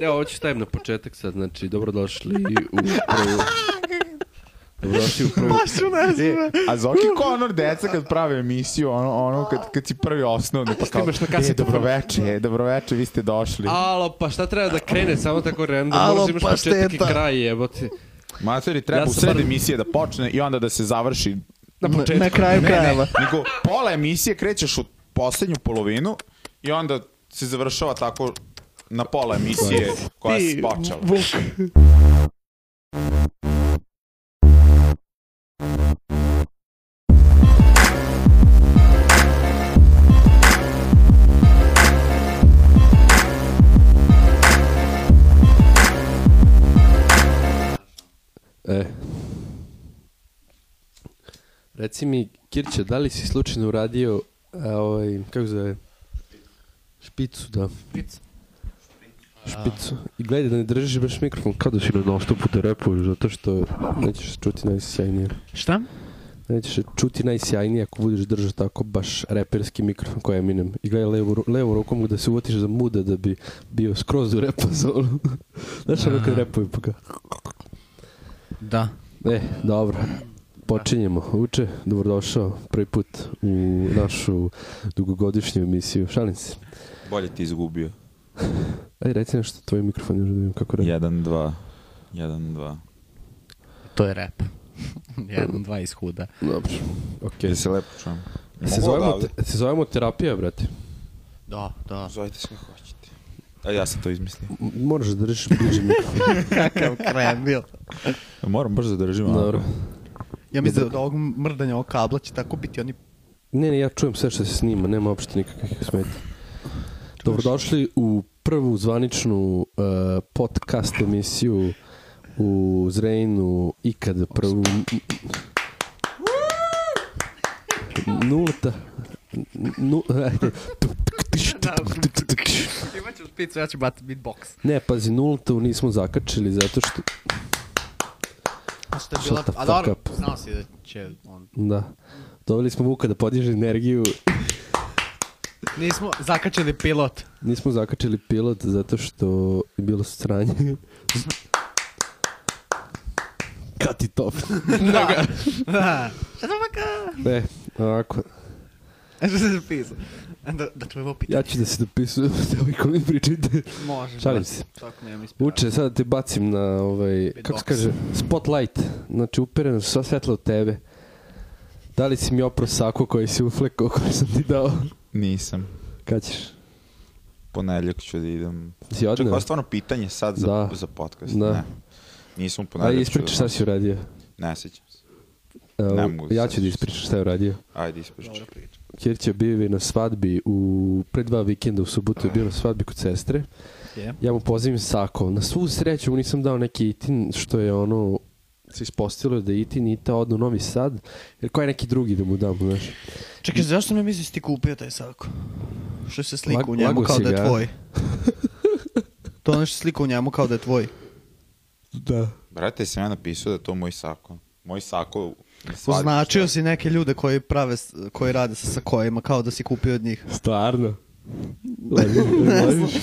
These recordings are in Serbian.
Evo, ovo ću stavim na početak sad, znači, dobrodošli u prvu... Dobrodošli u prvu... Što ne E, a Zoki Connor, deca kad prave emisiju, ono, ono kad, kad si prvi osnovni, pa kao, Snimaš na kasetu. e, dobroveče, e, dobroveče, vi ste došli. Alo, pa šta treba da krene, samo tako random, Alo, moraš imaš pa početak i šteta. kraj, jebote. Matori, treba Ja u sam sred bar- emisije da počne i onda da se završi. Na početku. Na kraju krajeva. Nego, pola emisije krećeš u poslednju polovinu i onda se završava tako na pola emisije koja se Ti, počela. Vuk. E. Reci mi, Kirće, da li si slučajno uradio, a, ovaj, kako se zove? Špicu, da. Špicu. Špicu. I gledaj da ne držiš baš mikrofon kao da si na nastupu da repuješ, zato što nećeš čuti najsjajnije. Šta? Nećeš čuti najsjajnije ako budeš držao tako baš reperski mikrofon koji je Eminem. I gledaj levo, ru- levo rukom da se uvotiš za muda da bi bio skroz u repa zonu. Znaš ono kad repuju pa kao... Da. E, dobro. Počinjemo. Uče, dobrodošao prvi put u našu dugogodišnju emisiju. Šalim se. Bolje ti izgubio. Ajde, reci nešto, tvoj mikrofon još da vidim kako radi. Jedan, dva. Jedan, dva. To je rap. Jedan, dva iz huda. Dobro, okej. Jel se lepo čujem. Se, Mogu zovemo, odavde? te- se zovemo terapija, brate. Da, da. Zovite se kako hoćete. A E, ja sam to izmislio. M- Moraš da držiš bliže mikrofon. Kakav kremil. Moram brzo da držim. Dobro. Ja mislim mislim da ovog mrdanja ovog kabla će tako biti oni... Ne, ne, ja čujem sve što se snima, nema uopšte nikakvih smeta. Dobrodošli u prvu zvaničnu uh, podcast emisiju u Zrejnu ikad prvu... Nulta. Nu, ajde. Imaću špicu, ja ću bati beatbox. Ne, pazi, nultu nismo zakačili zato što... A što je Shut bila... the fuck A dobro, up. znao si da će on... Da. Doveli smo Vuka da podiže energiju. Nismo zakačili pilot. Nismo zakačili pilot zato što je bilo sranje. Cut it off. da, da. Šta da baka? Ne, E, ovako, E, Šta se zapisao? Da, da čujemo pitanje. ja ću da se dopisujem da ovi ko mi pričate. Može. Šalim se. Tako mi je mislio. Uče, sada te bacim na ovaj, kako se kaže, spotlight. Znači, upereno su sva svetla u tebe. Da li si mi opro sako koji si uflekao koji sam ti dao? Nisam. Kad ćeš? Ponedeljak ću da idem. Si Čekaj, ovo odneo? je stvarno pitanje sad za, Pa Da. za podcast. Da. Ne. Nisam u ponedeljak. Ajde, ću ispričaj da- šta si uradio. Ne sjećam se. Evo, Ne mogu ja sad. ću da ispričam šta je uradio. Ajde, ispričaj. Kirća bio je na svadbi u, pre dva vikenda u subotu je bio na svadbi kod sestre. Je. Ja mu pozivim sako. Na svu sreću mu nisam dao neki itin što je ono se ispostavilo da je itin ita odu u Novi Sad. Jer ko je neki drugi da mu dam, znaš? Čekaj, zašto ne misliš ti kupio taj sako? Što se slika Lag- u njemu lago kao si da je ga, a? tvoj? to ono što se slika u njemu kao da je tvoj. Da. Brate, sam ja napisao da je to moj sako. Moj sako... na svadbi. Označio si neke ljude koji prave, s- koji rade sa sakojima kao da si kupio od njih. Stvarno?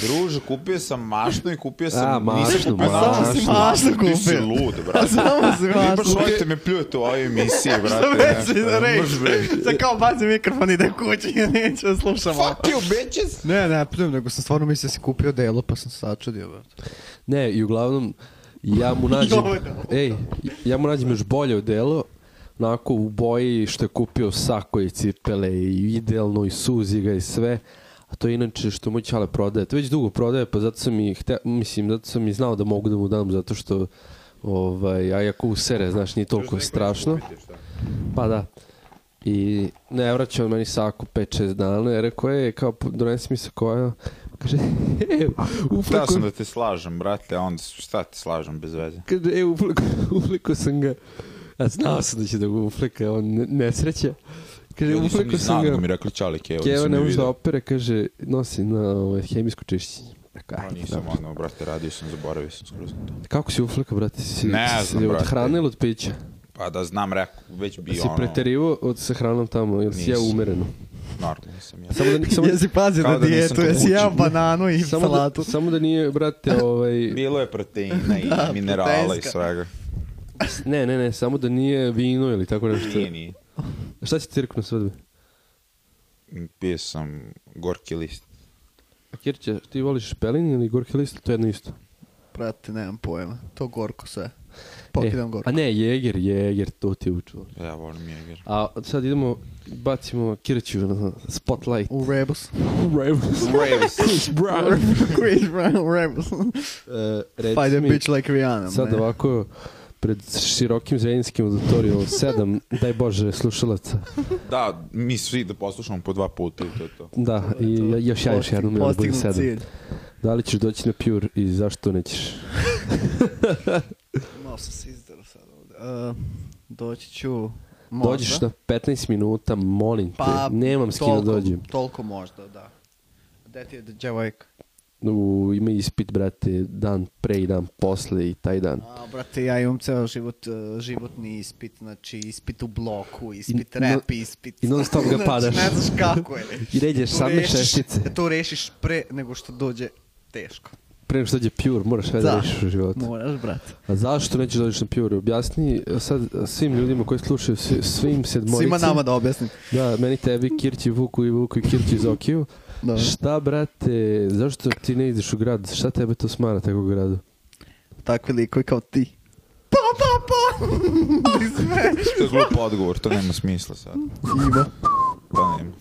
Druže, kupio sam mašnu i kupio sam... A, nisam mašnu, kupio mašnu. mašnu. Samo si mašnu Ti si kupio. lud, brate. Samo se Vi baš volite me pljujete u ovoj emisiji, brate. misliš da Ne reći? možeš, bre. Sad kao bazi mikrofon ide kući i neću da slušam ovo. Fuck you, bitches! Ne, ne, pljum, nego sam stvarno mislio da si kupio delo pa sam se začudio. brate. Ne, i uglavnom ja mu nađem Dovoljno. ej, ja mu nađem još bolje odelo onako u boji što je kupio sako i cipele i idealno i suzi ga i sve a to je inače što mu Ćale prodaje to već dugo prodaje pa zato sam i hte, mislim zato sam i znao da mogu da mu dam zato što ovaj, a jako usere znaš nije toliko strašno pa da I ne vraća on meni saku 5-6 dana, ja rekao je, kao, donesi mi se koja, kaže, e, Htio uflako sam da te slažem, brate, a onda su- šta ti slažem bez veze? Kaže, e, ufleko, ufleko sam ga. A znao sam da će da ga ufleka, on ne, nesreća. Kaže, Ja nisam ufleko ni znao sam da ga. mi rekli čalik, evo, Keva nisam ne ni može da vidio. opere, kaže, nosi na ovaj, hemijsko čišćenje. Tako, Pa ajde, Nisam, dobro. ono, brate, radio sam, zaboravio sam skroz na to. Kako si ufleka, brate? Si, Ne si znam, li od brate. hrane ili od pića? Pa da znam, rekao, već bi si ono... preterivo od sa hranom tamo, ili si ja Nisam. umereno? Normalno sam ja. Samo da, samo, Jesi pazio Kao na da nisam dijetu, to jesi učio. jeo bananu i samo, salatu. da, samo da nije, brate, ovaj... Bilo je proteina i minerala i proteinska. svega. Ne, ne, ne, samo da nije vino ili tako nešto. Nije, nije. Šta si cirk na svadbi? Pio sam gorki list. A Kirće, ti voliš pelin ili gorki list? To je jedno isto. Brate, nemam pojma. To gorko sve. Pokidam E, gorko. A ne, jeger, jeger, to ti je učuo. Ja volim jeger. A sad idemo, bacimo Kirću na spotlight. U Rebus. Braves. Chris Brown u Rebus. E, Fight reci a mi, bitch like Rihanna. sad man. ovako, pred širokim zrenjskim auditorijom, sedam, daj Bože, slušalaca. Da, mi svi da poslušamo po dva puta i to je to. Da, i To je to. još ja još jednom i onda bude Postignut sedam. cilj. Da li ćeš doći na Pure i zašto nećeš? Malo sam se izdero sad ovde. E, doći ću možda. Pa, Dođeš na 15 minuta, molim te. Nemam s kim da toliko- dođem. Toliko možda, da. Gde ti je djevojka? U, ima ispit, brate, dan pre i dan posle i taj dan. A, brate, ja imam ceo život, e, životni ispit, znači ispit u bloku, ispit I- rap, ispit. i non stop ga Znači, padaš. ne znaš kako je. I ređeš To same rešiš- šestice. To rešiš pre nego što dođe teško. Pre nego što dođe Pure, moraš sve da Da. rešiš u životu. Moraš, brate. A zašto nećeš da dođeš na Pure? Objasni e, sad svim ljudima koji slušaju, svi- svim sedmoricima. Svima nama da objasnim. Da, meni tebi, Kirći, Vuku i Vuku i Kirći iz Okiju. Da. Šta, brate, zašto ti ne ideš u grad? Šta tebe to smara tako u gradu? Takvi likovi kao ti. Pa, pa, pa! Ti sve. To je glup odgovor, to nema smisla sad. Ima. To nema.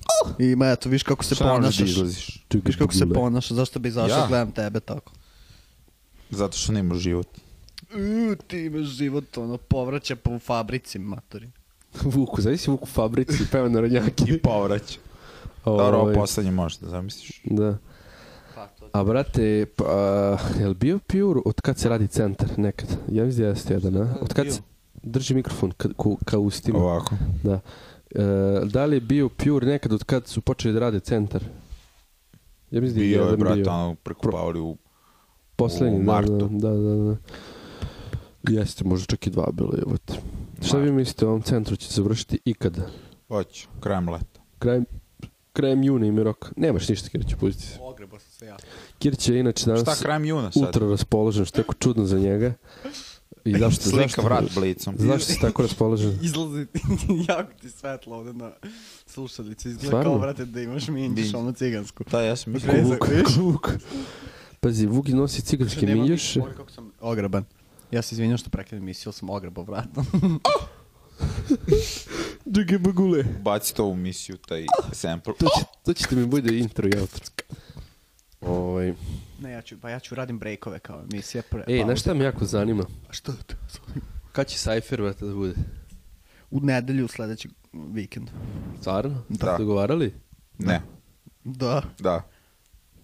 Ima, eto, viš kako se ono Šta ne možeš da ponašaš. izlaziš? Viš kako se ponaša, zašto bi izašao, Ja? gledam tebe tako. Zato što nema život. U, ti imaš život, ono, povraća po fabrici, maturi. Vuku, zavisi Vuku u fabrici, peva na rodnjaki. I povrać. Dobro, ovo Ovaj, poslednje možeš da zamisliš. Da. Pa, A brate, pa, a, jel bio Pure od kad se radi centar nekad? Ja mislim da jeste jedan, a? Od kad se... Drži mikrofon ka, ku, ka ustima. Ovako. Da. E, da li je bio Pure nekad od kad su počeli da rade centar? Ja mislim da je Bio je, jedan brate, bio. ono, prekupavali u... Poslednji, u da, martu. da, da, da, da. Jeste, možda čak i dva bilo je. Šta vi mislite, ovom centru će se završiti ikada? Hoću, krajem leta. Krajem, krajem juna im je rok. Nemaš ništa, Kirć, pusti se. Ogrebo sam se ja. Kirć je inače Šta danas krajem juna sad? ultra raspoložen, što je tako čudno za njega. I zašto, Slika zašto, vrat blicom. zašto si tako raspoložen? Izlazi ti, jako ti svetlo ovde na slušalici. Izgleda Stvarno? kao, brate, da imaš minđiš, Di. ono cigansku. Da, ja sam mislio. Rezak, viš? Pazi, Vuki nosi Znači, cigarske Nemam miljuš. mikrofon, kako sam ogreban. Ja se izvinjam što prekidam emisiju, ali sam ogrebao vratom. Duge bagule. Baci to u misiju, taj sample. To, će, to ćete mi bude intro i outro. Ovaj. ne, ja ću, pa ja ću radim brejkove kao emisija. Pre, pa Ej, znaš šta me jako zanima? Što te? Kad će Cypher vata da bude? U nedelju sledećeg vikenda. Stvarno? Da. Ste Dogovarali? Ne, Da. da.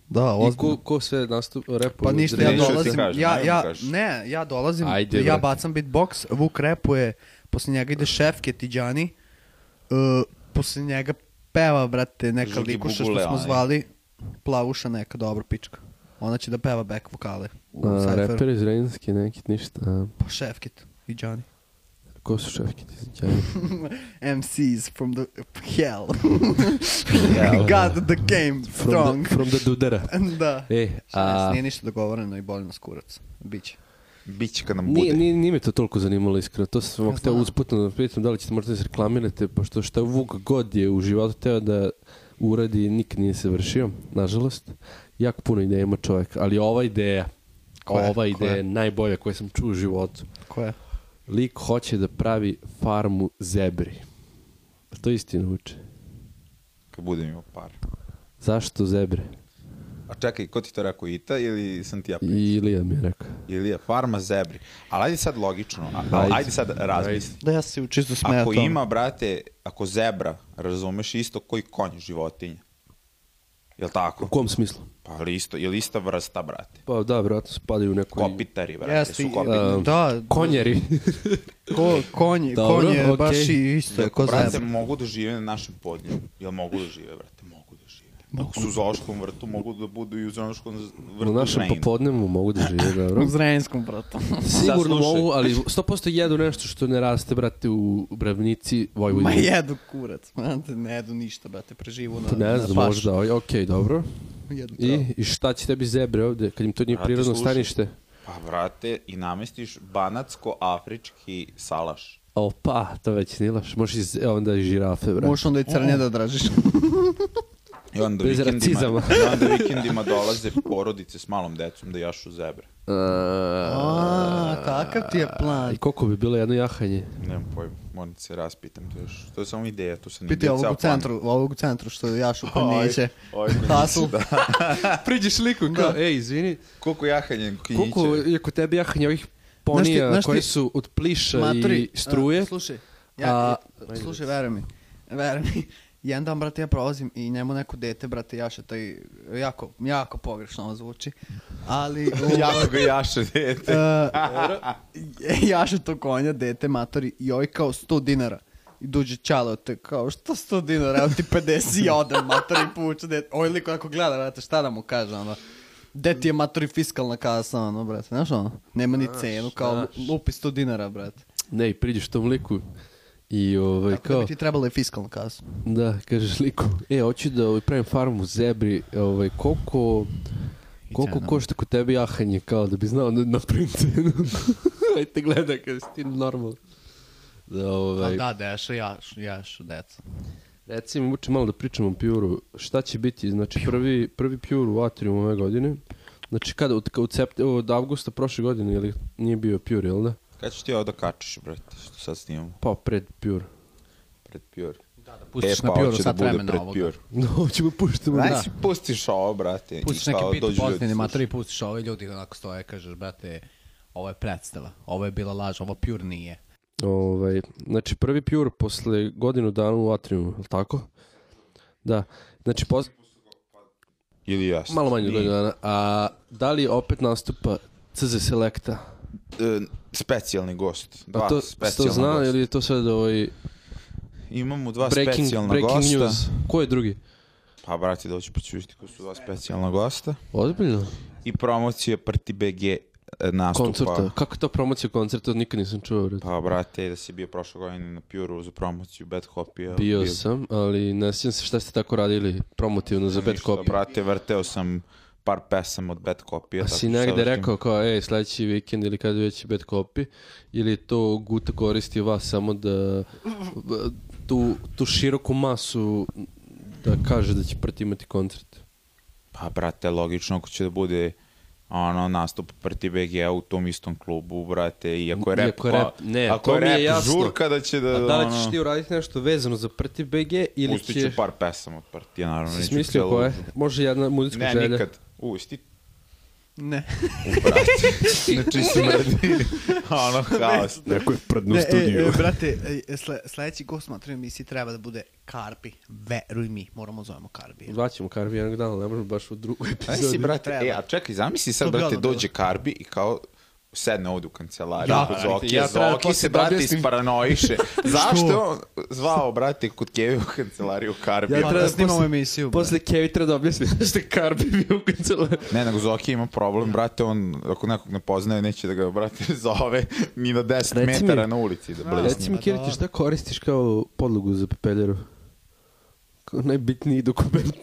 Da, I ko, ko sve nastup, repuje? Pa ništa, Neću ja da ti dolazim. kažem, ja, nemoj da ja, kažeš. ne, ja dolazim, Ajde, ja brate. bacam beatbox, Vuk repuje, posle njega ide Šefke Tiđani, uh, posle njega peva, brate, neka Žugi likuša što Bugule, smo onaj. zvali, plavuša neka, dobro, pička. Ona će da peva back vokale u A, Cypheru. reper iz Renski, neki, ništa. A, Pa Šefkit i Đani. ko su šefki ti zađaju? MCs from the hell. Hell. God the game From strong. the, from the dudera. da. E, A... a... Nije ništa dogovoreno i boli nas kurac. Biće. Biće kad nam bude. Nije, nije, nije me to toliko zanimalo iskreno, to sam vam Ja hteo znam. usputno da pitam da li ćete možda da se reklamirate, pošto šta Vuk god je u životu teo da uradi, nikad nije se vršio, nažalost. Jako puno ideja ima čovjek, ali ova ideja, Koja? ova ideja Koja? je najbolja koju sam čuo u životu. Ko je? Lik hoće da pravi farmu zebri. To je istina uče. Kad budem imao par. Zašto zebre? A čekaj, ko ti to rekao, Ita ili sam ti ja pričao? I Ilija mi je rekao. Ili je farma zebri. Ali ajde sad logično, a- a- Ajde. ajde sad razmisli. Da ja se učisto smeja Ako ima, brate, ako zebra, razumeš isto koji konj životinja. Jel U tako? kom smislu? Pa ali isto, jel ista vrsta, brate? Pa da, vjerojatno spadaju u nekoj... Kopitari, brate, Jeste, su i- kopitari. A, Da, Konjeri. Ko, konj, Dobro, konj je okej. baš i isto je ko brate, zebra. mogu da žive na našem podnju. Jel mogu da žive, brate? Mogu da žive. Ako su u zoološkom vrtu, mogu da budu i u zoološkom z- U vrtu našem Zrenjanin. popodnevu mogu da žive, dobro. U Zrenjskom, brate. Sigurno slušaj. mogu, ali 100% jedu nešto što ne raste, brate, u Bravnici, Ma Vojvodini. jedu kurac, brate, ne jedu ništa, brate, preživu na, Pa ne na znam, pašu. možda, oj, okej, dobro. Jedu I, I? I šta će tebi zebre ovde, kad im to nije Brate, prirodno slušaj. stanište? Pa vrate, i namestiš banatsko-afrički salaš. Opa, pa, to već nilaš. Možeš iz, e, onda i žirafe, brate. Možeš onda i crnje da dražiš. I onda Bez vikendima, racizama. i onda vikendima dolaze porodice s malom decom da jašu zebre. E, A, takav ti je plan. I koliko bi bilo jedno jahanje? Nemam pojma, moram da se raspitam to još. To je samo ideja, to sam Piti ovog u centru, ovog u centru što jašu pa Oj, neće. oj, koji neće, Hasu. Priđeš liku i kao, ej, izvini, Koliko jahanjem kinjiće? koliko je kod tebe jahanje ovih Znaš ti- ponija znaš koje ti- su od pliša Maturi, i struje? a, slušaj, ja, e, A- slušaj, veruj mi. Veruj mi. Jedan dan, brate, ja prolazim i njemu neko dete, brate, jaše, taj, jako, jako pogrešno ovo zvuči, ali... Jako ga jaše dete. E, jaše to konja, dete, matori, i ovaj kao 100 dinara. I dođe čalo, te kao, što 100 dinara, evo ti 50 i ode, matori, puče, dete. Ovaj liko ako gleda, brate, šta da mu kaže, ono. Gde ti je matori fiskalna kasa, ono, brate, znaš ono? Nema ni cenu, kao, lupi 100 dinara, brate. Ne, i priđeš tom liku i ovaj, Tako da kao, bi ti trebala je fiskalna kasa. da, kažeš liku, e, hoću da ovaj, pravim farmu zebri, ovaj, koliko... Koliko cena. košta kod tebe jahanje, kao da bi znao na, na princenu. Ajde te gleda, kada si ti normalno. Da, ovaj, da, deša, jaš, jaš, deca. Recimo, uče malo da pričamo o Pjuru. Šta će biti? Znači, prvi, prvi Pjur u Atriumu ove godine. Znači, kada? Od, od, sept, od avgusta prošle godine, ili nije bio Pjur, jel da? Kad ćeš ti ovo da kačiš, brate, što sad snimamo? Pa, pred Pjur. Pred Pjor. Pa Da, da pustiš na Pioru sat vremena ovoga. No, ćemo puštamo. Daj Da. si pustiš ovo, brate. i Pustiš šta, neki dođu bit ljudi pozitivni slušaju. materi, pustiš ove ljudi onako stoje, kažeš, brate, ovo je predstava, ovo je bila laž, ovo pure nije. Ovaj, znači, prvi Pjur posle godinu dana u Atriumu, jel tako? Da. Znači, pos... Ili jasno. malo manje od godinu dana. A da li opet nastupa CZ Selecta? E, specijalni gost. Dva A to ste specijalna znao gosta. ili je to sad ovaj Imamo dva breaking, specijalna breaking gosta. news? Ko je drugi? Pa, brate, doći pa ću ko su dva specijalna gosta. Ozbiljno? I promocija Prti BG e, nastupa. koncerta. Kako je to promocija koncerta? Nikad nisam čuo. Pa, Pa, brate, da si bio prošle godine na Pjuru za promociju Bad Hopija. Bio sam, ali ne sjećam se šta ste tako radili promotivno za Bad Ništa, Copy. Brate, vrteo sam par pesama od Bad Hopija. A tako si što sad negde vrtim- rekao kao, ej, sledeći vikend ili kada već je Bad Copy, ili je to Guta koristi vas samo da b- tu, tu široku masu da kaže da će prti imati koncert. Pa, brate, logično ako će da bude ono, nastup proti BG u tom istom klubu, brate, i ako je rap, Iako je rap- pa- ne, ako to je mi je rap jasno. žurka da će da, A da li ćeš ono, ti uraditi nešto vezano za prti BG ili pustit ću će... par pesama od partija, naravno. Si neću smislio celu- koje? Može jedna muzička Ne, želja. nikad. U, isti Ne. znači si mrdi. ono, haos. Neko je prdno u Ne, e, studiju. e, brate, e, sle, sledeći gost matri emisiji treba da bude Karpi. Veruj mi, moramo zovemo Karpi. Zvaćemo Karvi jednog dana, ne možemo baš u drugoj Aj epizodi. si, brate, Treba. e, a čekaj, zamisli sad, To bi brate, odmah bilo. dođe Karbi i kao sedne ovdje u kancelariju Da, kod brate, Zoki, ja trebam Zoki posle se, da brate, objasnim. isparanoiše. Zašto je on zvao, brate, kod Kevi u kancelariju Karbi? Ono Ja Pa treba da da snimamo posle- emisiju. bre. Posle Kevi treba da objasni zašto je Karbi bio u kancelariji. Ne, nego Zoki ima problem, brate, on ako nekog ne poznaje, neće da ga, brate, zove ni na 10 Reci mi- metara na ulici da Reci blizni. mi, Kiri, ti šta koristiš kao podlogu za pepeljeru? Kao najbitniji dokument.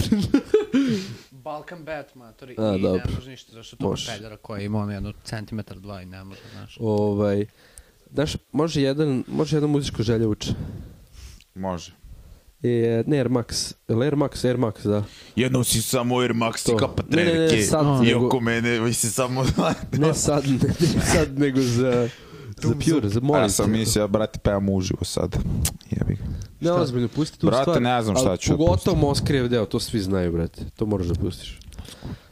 Balkan Bat, matori, A, i dobro. ne može ništa, zašto to Može. peljera koja ima ono jedno centimetar, dva i ne može, znaš. ovaj, znaš, može jedan, može jedan muzičko želje uče. Može. E, ne, Air Max. Jel Air Max, Air Max, da. Jednom si samo Air Maxi To. kapa Ne, ne, ne, trenerke sad i nego- oko mene, mislim, samo... Ne sad, ne, ne sad nego za... Za Pure, za molim. Ja sam mislio, brate, pevam uživo sad. Jebi ga. Ne, ozbiljno, pusti tu Brate, stvar. ne znam šta ali ću da Pogotovo Moskrijev deo, to svi znaju, brate. To moraš da pustiš.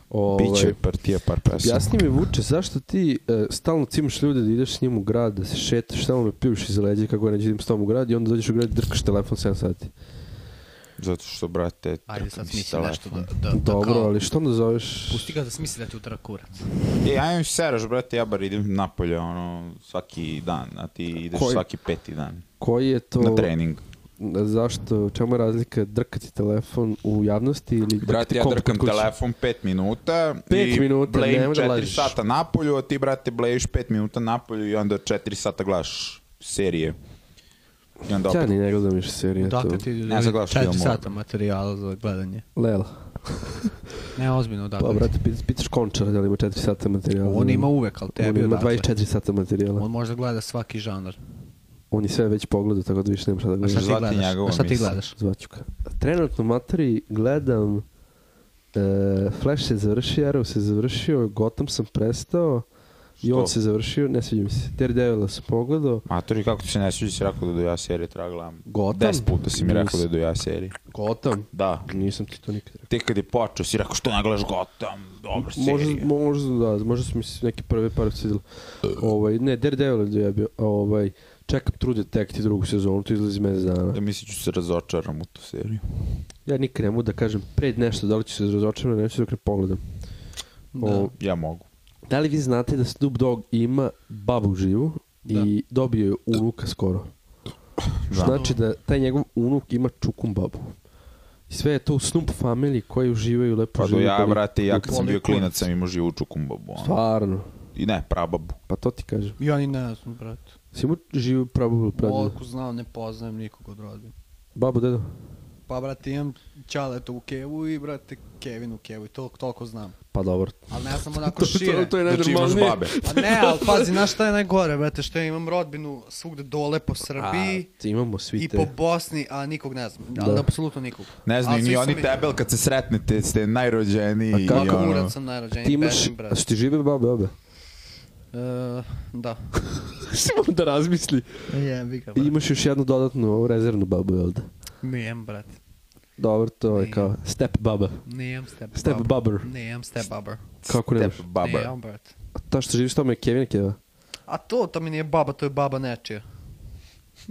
Ovaj, Biće partija par pesama. Jasni mi Vuče, zašto ti e, stalno cimaš ljude da ideš s njim u grad, da se šetaš, stalno me pivš iz leđa kako ja neću idem s tom u grad i onda dođeš u grad i drkaš telefon 7 sati. Zato što, brate, Ajde sad trkam si smisli nešto da, telefon. da, da Dobro, kao- ali što onda zoveš? Pusti ga da smisli da ti utara kurac. E, ja imam seraš, brate, ja bar idem napolje, ono, svaki dan, a ti ideš Koji? svaki peti dan Koji je to... na trening. zašto, čemu je razlika drkati telefon u javnosti ili drkati Brate, ja komput drkam kući? telefon 5 minuta Pet i minuta, blejim nemoj da 4 lažeš. sata napolju, a ti, brate, blejiš 5 minuta napolju i onda 4 sata gledaš serije. I onda opet Ja ni ne gledam više serije. to. Dakle ti Ne znam gledaš četiri film, sata materijala za gledanje. Lela. Ne, ozbiljno, dakle. Pa, brate, pit- pitaš končara da li ima 4 sata materijala. On ima uvek, ali tebi On ima odatle. 24 sata materijala. On može da gleda svaki žanar. On je sve već pogledao, tako da više nema šta da A šta gledaš. ti Zvati gledaš? njegovu A šta ti misl. gledaš? Zvaću ga. Trenutno materi gledam e, Flash se završio, Arrow se završio, Gotham sam prestao i Što? on se završio, ne sviđa mi se. Daredevil sam pogledao. Matori, kako ti se ne sviđa, si rekao da do ja serije treba gledam. Gotham? 10 puta si mi rekao da Nisam. do ja serije. Gotham? Da. Nisam ti to nikad rekao. Te kad je počeo, si rekao što ne gledaš Gotham, dobra Možda, serija. možda da, možda su mi se neke prve par svidjeli. E. Ovaj, ne, Daredevil je dojebio. a Ovaj, čekam True Detective drugu sezonu, to izlazi mjesec dana. Da misli ću se razočaram u tu seriju. Ja nikad ne mogu da kažem pred nešto, da li ću se razočarati, ili neću dok ne pogledam. O, Ja mogu. Da li vi znate da Snoop Dogg ima babu živu i dobio je unuka skoro? Što Znači da taj njegov unuk ima čukum babu. I sve je to u Snoop family koji uživaju lepo Pa do žive ja, boli- brate, ja kad boli- sam bio boli- klinac sam imao živu čukumbabu. ono. Stvarno. I ne, prababu. Pa to ti kažem. Ja ni ne znam, brate. Si imao živu prabu pravu? Oliko znam, ne poznajem nikog od rodbine. Babu, dedo? Pa, brate, imam Ćaleta u Kevu i, brate, Kevin u Kevu i toliko, toliko znam. Pa dobro. Ali ne znam onako šire. je Znači imaš babe. Pa ne, ali pazi, znaš šta je najgore, brate, što ja imam rodbinu svugde dole po Srbiji A, imamo svi i te. po Bosni, a nikog ne znam. Da. Ali apsolutno nikog. Ne Ali znaju svi ni su oni mi- tebe, ali kad se sretnete ste najrođeniji. i kako? Ovako ono. urat sam najrođeniji, Ti imaš, bežim, a brate. su ti žive babe obe? E, da. Što moram da razmisli? Jem, vi ga, I brate. imaš još jednu dodatnu ovu rezervnu babu, jel da? Nijem, brate. Dobro, to je kao step baba. Nijem step, Step bubber. Nijem step bubber. Kako nemaš? Step babar. Nijem, brate. Ta što živiš tamo je Kevin Keva. A to, to mi nije baba, to je baba nečija.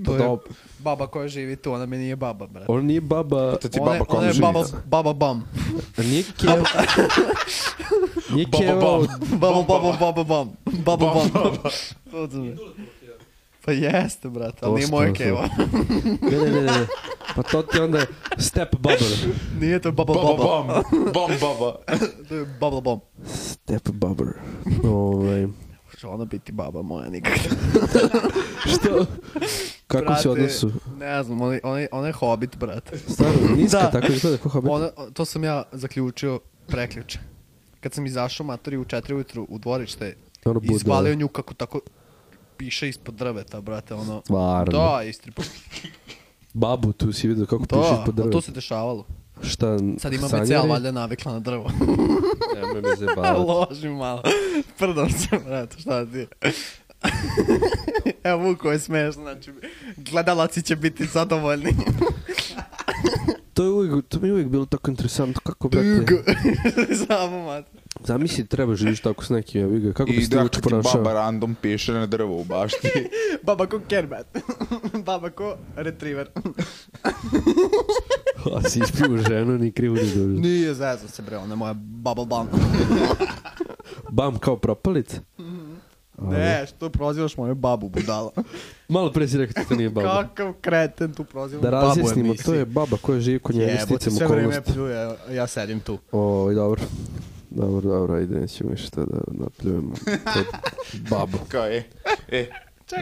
To je dob- baba koja živi tu, ona mi nije baba, brate. On nije baba... To ti Ona je- baba ona kome je živi. baba, baba bam. Nije Keva... nije Keva... od- Baba, baba, baba, bam. Baba, bam. Razumeš? Pa jeste, brate, ali To nije što moja je keva. Ne, ne, ne, ne. Pa to ti onda je step bubber. Nije to baba, Baba baba. bam, bam baba. To je baba, bam. Step bubber. Ovaj... Što ona biti baba moja nikad. Što? Kako se odnosu? Ne znam, ona, ona, ona je hobbit, brate. Stvarno, niska Da. tako izgleda kao hobbit. Ona, to sam ja zaključio preključe. Kad sam izašao matori u četiri ujutru u dvorište Ono i bude. izvalio nju kako tako piše ispod drveta, brate, ono... Stvarno. Da, istripo. Babu tu si vidio kako piše Da, ispod a drve. to se dešavalo. Šta, Sad ima sanjari? BCL, valjda je navikla na drvo. Nemoj me zajebavati. Loži malo. Prdam se, brate, šta ti je? Evo, Vuko je smešno, znači, gledalaci će biti zadovoljni. To, je uvijek, to mi je uvijek bilo tako interesantno. Kako, Dug. brate, Samo, mate. zamisli treba živiš tako s nekim, ja ga, kako bi I se ti da uče kad ti ponašao? baba random piše na drvo u bašti. Baba ko kerbat. Baba ko retriever. A si ispio ženu, ni krivo ni dužno. Nije zezno se, bre, ona je moja bubble bum. Bam, kao propalica. ne, što prozivaš moju babu, budala. Malo pre si rekao da to nije baba. Kakav kreten tu prozivaš Da babu razjasnimo, emisiji. to je baba koja živi kod njega Jebote, sticam sve vreme okolnosti. pljuje, evo, ja sedim tu. O, dobro. Dobro, dobro, ajde, nećemo više to da napljujemo. To babu. Kao e, e.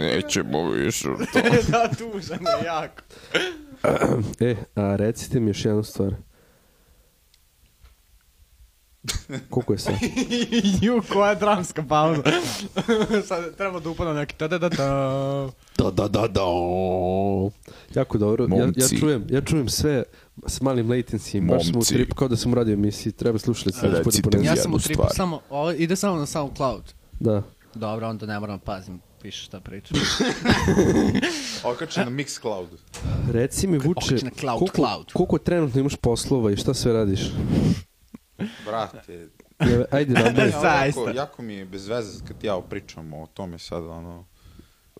Nećemo više. da, tužan je jako. E, a recite mi još jednu stvar. Koliko je sad? Ju, koja dramska pauza. Sad treba da upada neki da da da da. Da, da, da, da. Jako dobro. Ja, ja, Momci. čujem, ja čujem sve s malim latency. Baš smo u Momci. trip kao da sam radio emisiji. Treba slušalice. da Recite bude mi. Ja ponizno. sam Jednu u tripu stvar. samo, ovo, ide samo na SoundCloud. Da. Dobro, onda ne moram pazim više šta pričam. Okače na Mixcloud. Reci mi, Vuče, hoćeš na cloud, koliko, cloud. koliko trenutno imaš poslova i šta sve radiš? Brate, Ja, Ajde, nabaj. Ja, Zaista. Jako, jako mi je bez veze kad ja pričam o tome sad, ono,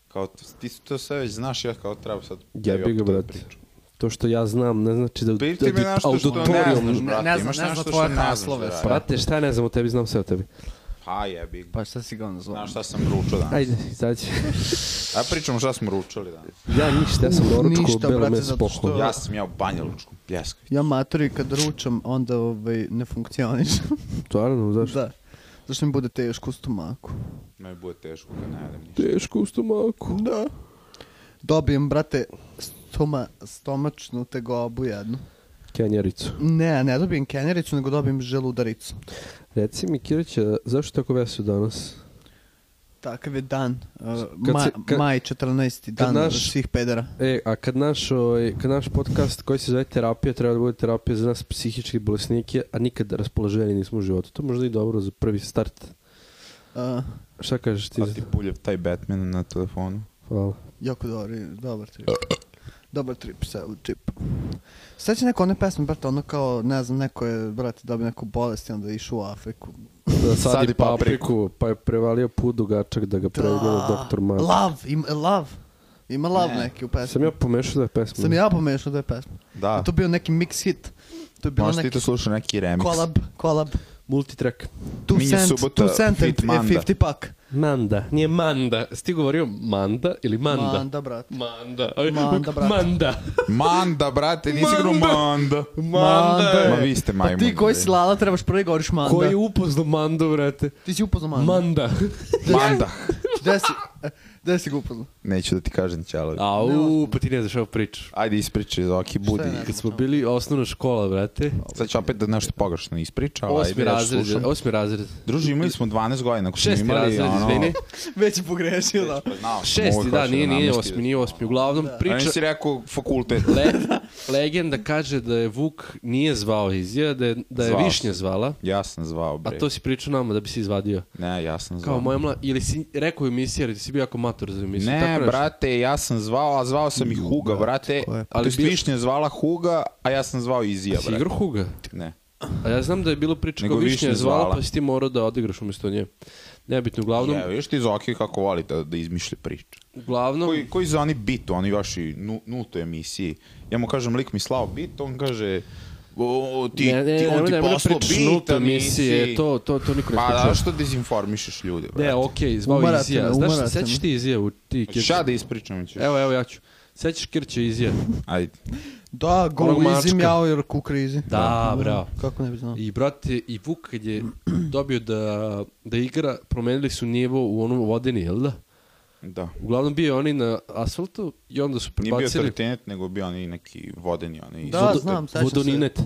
kao t- ti to sve već znaš, ja kao treba sad... Ja tebi bi ga, opet da brate. pričam. To što ja znam, ne znači da, Piti mi da nešto što ne znaš, Ne- brate. ne znam- imaš ne znam nešto što tvoje ne znaš, naslove, brate. Brate, šta ja ne znam o tebi, znam sve o tebi. Pa jebi. ga. Pa šta si ga ono zvao? Znaš šta sam ručao danas? Ajde, sad će. Aj pričamo šta smo ručali danas. Ja ništa, ja sam Uf, doručko, ništa, belo brate, meso zato što- Pa pohodu. Ja sam jeo banjalučku pljeskavicu. Ja matori kad ručam, onda ovaj, ne funkcionišem. Stvarno, zašto? da. Zašto mi bude teško u stomaku? Me bude teško kad ne jedem ništa. Teško u stomaku. Da. Dobijem, brate, stoma, stomačnu tegobu jednu. Kenjericu. Ne, ne dobijem kenjericu, nego dobijem želudaricu. Reci mi, Kirića, zašto je tako vesel danas? Takav je dan. Uh, kad ma, se- kad- maj 14. dan naš- svih pedera. E, a kad naš, ovaj, kad naš podcast koji se zove terapija, treba da bude terapija za nas psihički bolesnike, a nikad raspoloženi nismo u životu. To možda i dobro za prvi start. Uh, Šta kažeš ti? A Pa ti pulje taj Batman na telefonu. Hvala. jako dobar, dobar trip. Dobar trip, sad trip. Sveća neko one pesme, brate, ono kao, ne znam, neko je, brate, dobio neku bolest i onda je išao u Afriku. Da sadi, Sadi papriku, papriku. Ah, pa je prevalio put dugačak da ga pregleda doktor Mad. Love, ima, love. Ima love neki u pesmi. Sam ja pomešao da je pesma. Sam ja pomešao da je pesma. Da. To je bio neki mix hit. To je bilo Možda ti neki to slušao neki remix. kolab, kolab. Multitrack. Two Minje cent, subota, two cent and Fit Manda. 50 pak. Manda. Nije Manda. Si ti govorio Manda ili Manda? Manda, brate. Manda. Aj, Manda, brate. Manda. Manda, brate, nisi igrao Manda. Manda. Ma je. vi ste Pa majmuni. ti koji bre. si lala trebaš prvi govoriš Manda. Ko je upoznao Mandu, vrate? Ti si upoznao Manda. Manda. Manda. Gde si, e, gde si ga upoznao? Neću da ti kažem ćelo. Au, pa ti ne znaš ovo priču. Ajde ispričaj, Zoki, budi. ne znam? Kad smo bili osnovna škola, vrate. Sad ću opet da nešto pogrešno ispriča, ali Osmi ajde ja ću razred. slušam. Osmi razred. Druži, imali smo 12 godina. Ako smo Šesti imali, razred, ono, izvini. Već je pogrešio, da. Znao sam, Šesti, mogu da, hoću nije, nije namestim. osmi, nije osmi. Uglavnom, A priča... nisi rekao fakultet. Le, legenda kaže da je Vuk nije zvao Izija, da je, da je Zvao Višnja zvala, Ja sam zvao, a bre. to si pričao nama da bi si izvadio. Ne, ja sam zvao. Kao moja mla... Ili si rekao u emisiji, jer ti si bio jako mator za emisiju. tako Ne, nešto. brate, ja sam zvao, a zvao sam i Huga, brate. Ali Ali bio- Višnja je zvala Huga, a ja sam zvao Izija, Si brate. igrao Huga? Ne. A ja znam da je bilo priča Nego kao Višnja Višnja je zvala, zvala. pa si ti morao da odigraš umjesto nje. Nebitno, uglavnom, Evo, još ti Zoki kako voli da, da izmišlja priče. uglavnom, Koji, koji za oni bit, oni još i nu, nultoj emisiji. Ja mu kažem, lik mi slao bit, on kaže, o, ti, ne, ne, ti, on nemoj- ti nemoj da poslao pričaš bit, nultoj a emisiji, nisi... to- to- to niko ne Pa sluša. zašto dezinformišeš ljude, brate? Ne, okej, zvao Umarate Izija. me, Znaš, umarate sećaš me. ti Izija u ti Kirća? Šta da ispričam ćeš? Evo, evo, ja ću. Sećaš Kirća i Izija? Ajde. Da, go Onog izim mačka. jao jer ku krizi. Da, bravo. Kako ne bi znao. I brate, i Vuk kad je dobio da, da igra, promenili su nivo u onom vodeni, jel da? Da. Uglavnom bio oni na asfaltu i onda su Nije bio prebacili tartenet, nego bio oni neki vodeni, oni... Da, iz- znam, sećam se. vodoninet.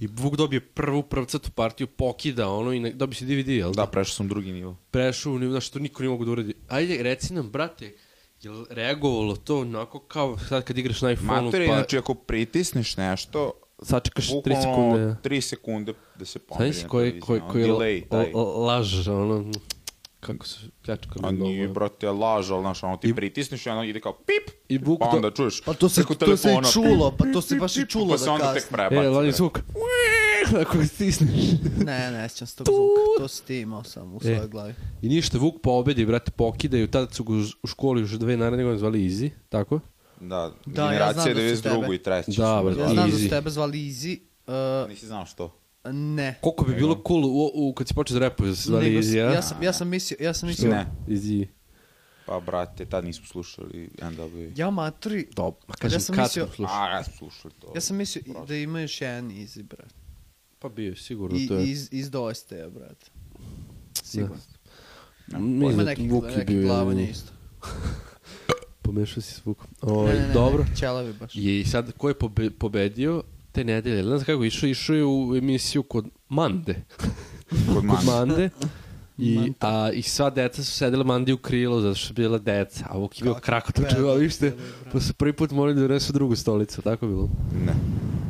I Vuk dobije prvu prvcatu partiju, pokida ono i ne, dobio si DVD, jel da? Da, prešao sam drugi nivo. Prešao, ni, znaš, to niko nije mogu da uradi. Ajde, reci nam, brate, jel reagovalo to onako kao sad kad igraš na iPhone-u, Mater, pa znači ako pritisneš nešto, sačekaš 3 bukvalno sekunde. 3 sekunde da se pomeri. Znaš na koji, televiziji, koji, ono, koji delay taj. la- la- laž, ono, kako se E, pljačka. A nije, brate, laž, ali znaš, ono ti pritisneš i ono ide kao pip, i Vuk pa to- onda čuješ Pa to se, preko to se telefona, i čulo, pip, pa to se baš i čulo pa se da onda tek kasno. prebaci. E, lani brate. zvuk. Uih, Ako stisneš. Ne, ne, sjećam se tog zvuka. To si ti imao sam u svojoj glavi. I ništa, Vuk pobedi, brate, pokidaju. Tada su ga uz- u školi još dve naredne godine zvali Izi, tako? Da, Da, ja generacija znam da su 92. tebe. i 3. Da, brate. Ja znam da Easy. su tebe zvali Easy. Uh, Nisi znao što. ne. Koliko bi bilo cool u, u, kad si počeo da rapuje, da se zvali Nego- Izi, a? Ja sam, ja sam mislio, ja sam mislio. Ne. Izi. Pa, brate, tad nismo slušali NW. Ja matri, Dobro, ma Pa kažem, Ja sam kad mislio- smo slušali. A, ja smo slušali to. ja sam mislio i- da ima još jedan Easy, brat. Pa bio, je, sigurno I, to je. iz, iz dosta je, brat. Sigurno. Mislim Ima da nekih, Vuk je bio nekih jedan glavanja od- isto. Pomešao si s Vukom. Oj, dobro. Čelavi baš. I sad, ko je pobe, pobedio te nedelje? Ne znam kako, je išao, išao je u emisiju kod Mande. Kod kod manje. Mande. I, a, I sva deca su sedela Mandi u krilo zato što su bila deca, a Vuk je bio krakotor čudovište, pa su prvi put morali da donesu drugu stolicu, tako je bilo. Ne.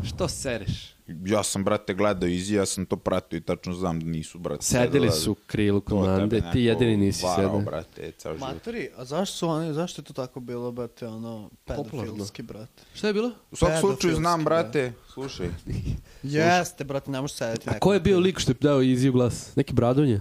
Što sereš? Ja sam, brate, gledao izi, ja sam to pratio i tačno znam da nisu, brate, Sedeli sedela. su u krilu kod To tebe Mande, neko ti jedini nisi varao, sedeo. brate, ceo život. Materi, a zašto su oni, zašto je to tako bilo, brate, ono, Popularno. pedofilski, brate? Šta je bilo? U svakom slučaju Pedofilski, znam, brate, slušaj. Jeste, brate, ne možeš sedeti. A ko je bio lik što je dao Iziju glas? Neki bradonje?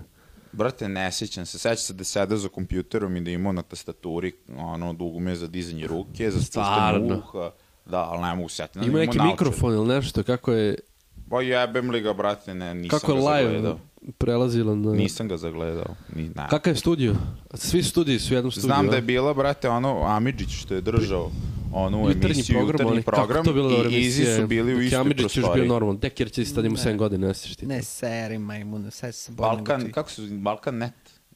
Brate, ne sjećam se. Sjećam se da je sedeo za kompjuterom i da je imao na tastaturi ono, dugme za dizanje ruke, za spuštanje Stvarno? uha. Da, ali ne mogu sjetiti. Ima neki mikrofon ili nešto, kako je... Ba Pa jebem li ga, brate, ne, nisam Kako je ga live zagledao. prelazila na... Nisam ga zagledao. Ni, na. Kakav je studio? Svi studiji su u jednom studiju. Znam da a? je bila, brate, ono, Amidžić što je držao onu Jutarnji emisiju, program, ali jutarnji program, kako to bila dobra i Izi emisija, su bili u dok je istoj Amidžić još bio prostoriji. normalan. Dekir će sad ima 7 godina, ne sjećaš ti. Ne seri, majmune, sad se bolim. Balkan, gotovi. kako se, Balkan net?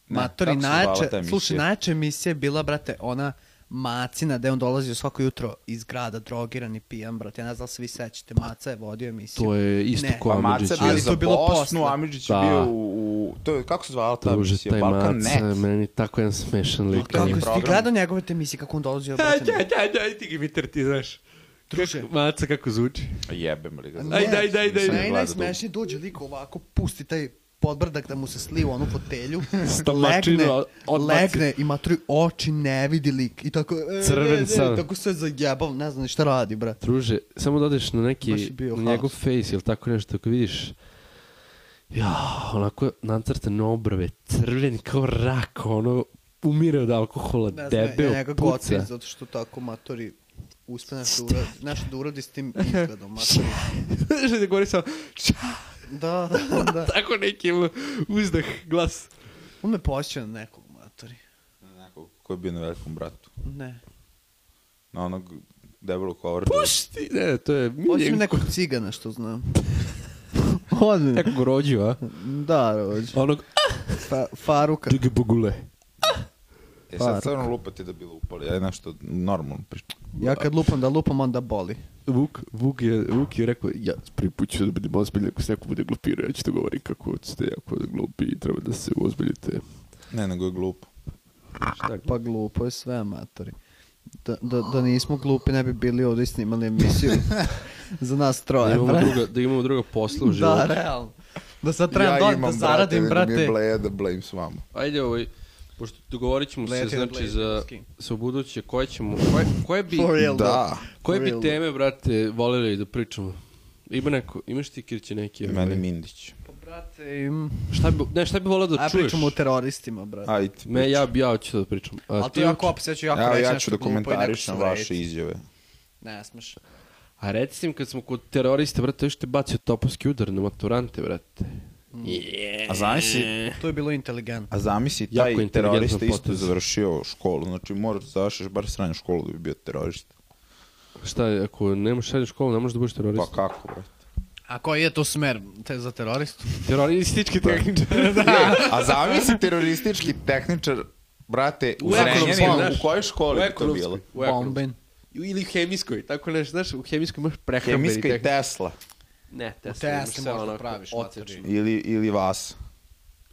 Ne, Matori, kako se zvala ta najjače, emisija? slušaj, najjača emisija je bila, brate, ona Macina, da je on dolazio svako jutro iz grada, drogiran i pijan, brate. Ja ne znam da li se vi sećate, Maca je vodio emisiju. To je isto Ne. ko Pa Maca je Amidžić. je. bio Ali to za je bilo Bosnu, posle. Amidžić je Da. bio u, u to je, kako se zvala ta Druže, emisija? taj Balkan Maca, net. meni tako jedan smešan lik. Kako ono. si ti program. gledao njegove te emisije, kako on dolazio, brate? Aj, aj, aj, ti Gimiter, ti znaš. Druže. Maca kako zvuči. Jebem li ga. Ne, Aj, daj, daj, daj. Nisam Meni gledao najsmešnije dođe lik ovako, pusti taj podbrdak da mu se sliva onu fotelju, Stomačinu legne, odbaci. legne i maturi oči ne vidi lik i tako, e, Crven ne, ne, sam. tako sve zajebao, ne znam ni šta radi, brate. Druže, samo da odeš na Baš je neki, bio na njegov haos. face ili tako nešto, ako vidiš, ja, onako nacrtane obrve, crven kao rak, ono, umire od alkohola, Ne znam, debel, ja njega puca. gotivim zato što tako matori uspe nešto da uradi, nešto da uradi s tim izgledom, matori. Znaš da govori samo, "Ša?" Da, da, da. tako neki ono, uzdah, glas. On me posjeća na nekog, matori. Nekog Ko je bio na velikom bratu? Ne. Na onog debelog kovrta. Pušti, ne, to je Posjeća mi miljen, nekog cigana što znam. Odmah. nekog rođu, a? Da, rođe. Onog, Fa, faruka. čige bogule. E sad stvarno lupate da bi lupali. Ja nešto normalno pričam. Ja kad lupam da lupam, onda boli. Vuk, Vuk, je, Vuk je rekao, ja prvi put ću da budem ozbiljan, ako se neko bude glupirao, ja ću da govorim kako ste jako glupi i treba da se ozbiljite. Ne, nego je glupo. Pa glupo je sve, amatori. Da, da, da nismo glupi, ne bi bili ovdje i snimali emisiju za nas Da troje, imamo brate. druga, da imamo druga posla u životu. Da, realno. Da sad trebam dodat da zaradim, brate. bleja da blame s vama. Ajde, ovaj, pošto dogovorit ćemo se, Leti na znači, Blade, za, skin. za ubuduće, koje ćemo, koje, koje bi, For real, Da. koje bi real. teme, brate, volili da pričamo? Ima neko, imaš ti kirće neki? ovaj? Meni Mindić. Pa, brate, im... Šta bi, ne, šta bi volio da A čuješ? pričamo o teroristima, brate. Ajde. Ne, ja, bi- ja ću da pričam. A, Ali ti to je hoćeš? jako opis, ja ću jako Evo, reći ja nešto ću da glupo i neko će komentarišem se vaše vrediti. izjave. Ne smeš. A recimo kad smo kod terorista, brate, još te bacio topovski udar na maturante, brate. A zamisli, To je bilo inteligentno. a zamisli Jako taj inteligentan terorista isto potez. završio školu. Znači moraš da završiš bar srednju školu da bi bio terorista. Pa Šta je, ako nemaš srednju školu, ne možeš da budeš Pa terorista? kako, brate? A koji je to smer te, za teroristu? Pa. Teroristički tehničar. E, A zamisli teroristički tehničar, brate, u, ekonomskoj, Zrenjaninu, znaš. u kojoj školi U bi to ekonomskoj. bilo? U ekonomskoj. Bomben. Ili u hemijskoj, tako nešto, znaš, u hemijskoj imaš prehrambeni Hemijska i Tesla. Ne, Tesla, Tesli imaš sve možda onako praviš, odsečnu. materiju. Ili, ili vas.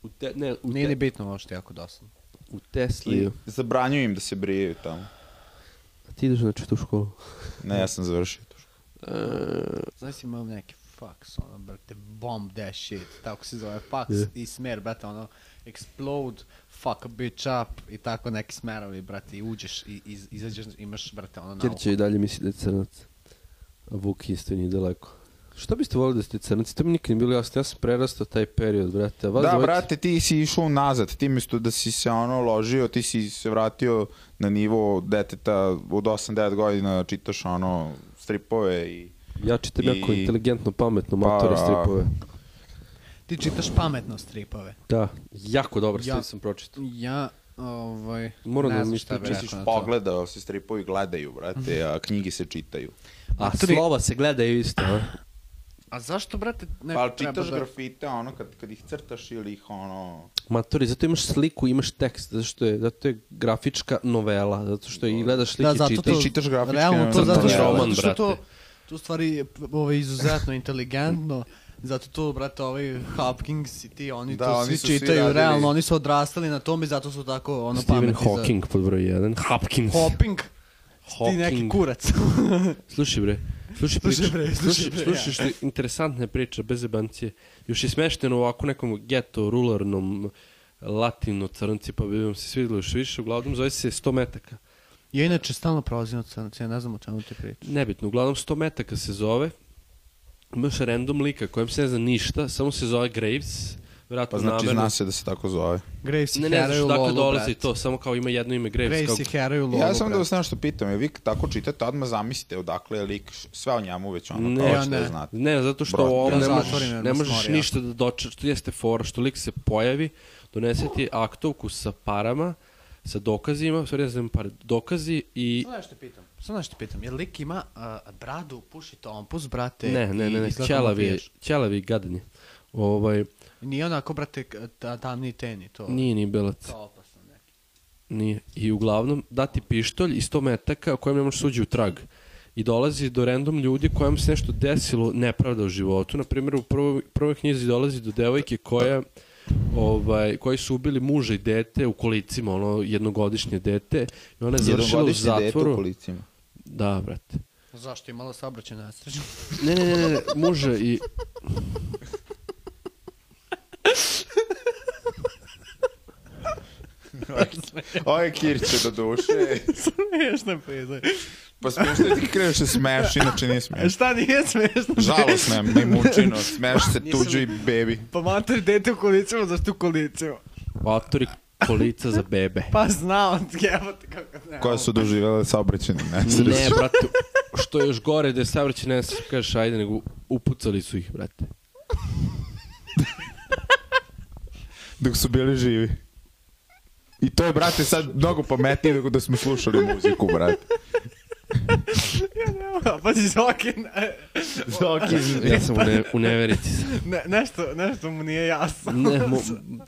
U te, ne, u, Nije ni te, bitno ovo što je jako dosadno. u I Tesli. zabranjuju im da se brijaju tamo. A ti ideš znači u tu školu? Ne, ja sam završio to. Znaš si imam neki fax, ono, brate, bomb that shit, tako se zove fax i smer, brate, ono, explode, fuck a bitch up i tako neki smerovi, brate, i uđeš i iz, izađeš, imaš, brate, ono, nauku. Kirće i dalje misli da je crnac. A Vuk isto nije daleko. Što biste volili da ste crnaci? To mi nikad nije bilo jasno. Ja sam prerastao taj period, brate. A vas Da, dvojica- brate, ti si išao nazad, ti mjesto da si se ono ložio, ti si se vratio na nivo deteta od 8-9 godina, čitaš ono stripove i... Ja čitam I- jako inteligentno, pametno, matore Pa- stripove. Ti čitaš pametno stripove. Da, jako dobar Ja- ja. sam pročitao. Ja, ovaj, Moram ne da znam mi šta stiče. bi Misliš, rekao na to. pogledao se stripovi gledaju, brate, a knjige se čitaju. A Maturi- slova se gledaju isto, a? A zašto, brate, ne Pa ali treba čitaš da- grafite, ono, kad, kad ih crtaš ili ih ono... Maturi, zato imaš sliku, imaš tekst, zato što je, zato je grafička novela, zato što i gledaš slike, Da, zato čitaš. to, čitaš grafičke ono, realno to novele. zato što, Roman, zato što to, brate. to u stvari je ovo, izuzetno inteligentno, zato to, brate, ovaj Hopkins i ti, oni Da, to oni svi su svi čitaju, radili- realno, oni su odrastali na tome i zato su tako, ono, Stephen pametni za... Hawking pod broj 1. Hopkins. Hopping. Ti neki Hawking. kurac. Slušaj bre, slušaj Slušaj priče, bre, slušaj slušaj, bre, slušaj što je interesantna priča, bez jebancije. Još je smešteno u ovako nekom geto, rularnom, latino crnci, pa bi vam se svidjelo još više, uglavnom zove se 100 metaka. ja inače stalno prolazim od crnaca, ja ne znam o čemu ti pričaš. Nebitno, uglavnom 100 metaka se zove, imaš random lika kojem se ne zna ništa, samo se zove Graves, Vratno Pa znači namerno. zna se da se tako zove. Graves i Ne, ne, znaš Heraju dakle Lolu, dolazi brate. to, samo kao ima jedno ime Graves. Graves i kao... Heraju Lolu, ja sam da brate. vas nešto pitam, jel vi kad tako čitate, odmah zamislite odakle je lik, š- sve o njemu već ono, Ne, ne, ja kao što ne. znate. Ne, zato što Brate. ovo Ja ne zatvorim, možeš, jer ne me možeš smori, ja. ništa da dočeš, to jeste fora, što lik se pojavi, donese ti aktovku sa parama, sa dokazima, sorry, ja znam pare, dokazi i... Samo nešto pitam. Samo nešto pitam. Jer lik ima uh, bradu, puši tompus, brate. Ne, ne, i ne, ne, izgleda kao ćelavi, mafijaš. ćelavi gadanje. Ovaj, Nije onako, brate, k- ta, tamni teni, to. nije ni belac. To je opasno, ne. Nije. I uglavnom dati pištolj i 100 metaka kojem ne možeš suđi u trag. I dolazi do random ljudi kojem se nešto desilo nepravda u životu. Na primjer, u prvoj, prvoj knjizi dolazi do devojke koja ovaj, koji su ubili muža i dete u kolicima, ono jednogodišnje dete i ona je završila u Jednogodišnje dete u zatvoru. kolicima. Da, brate. Pa Zašto je malo saobraćajna nesreća? Ne, ne, ne, ne, ne, muža i... Ovo je Kirće do duše. Smešna pizda. E. Pa spuštaj ti kreneš se smeš, inače nije smeš. E, Šta nije smešno? Žalosno je, ni mučino, smeš se tuđu i bebi. Pa mater dete u kolicima, zašto u kolicima? Vatori kolica za bebe. Pa znao, jebate kako ne. Koja su doživjela saobraćene nesreće. Ne, brate, što je još gore da je savrće ne kažeš ajde, nego upucali su ih, brate. dok su bili živi. I to je, brate, sad mnogo pametnije nego da smo slušali muziku, brate. Pa si Zokin, Ja sam u, ne, u neverici. sam. ne, nešto, nešto mu nije jasno. Ne, mo,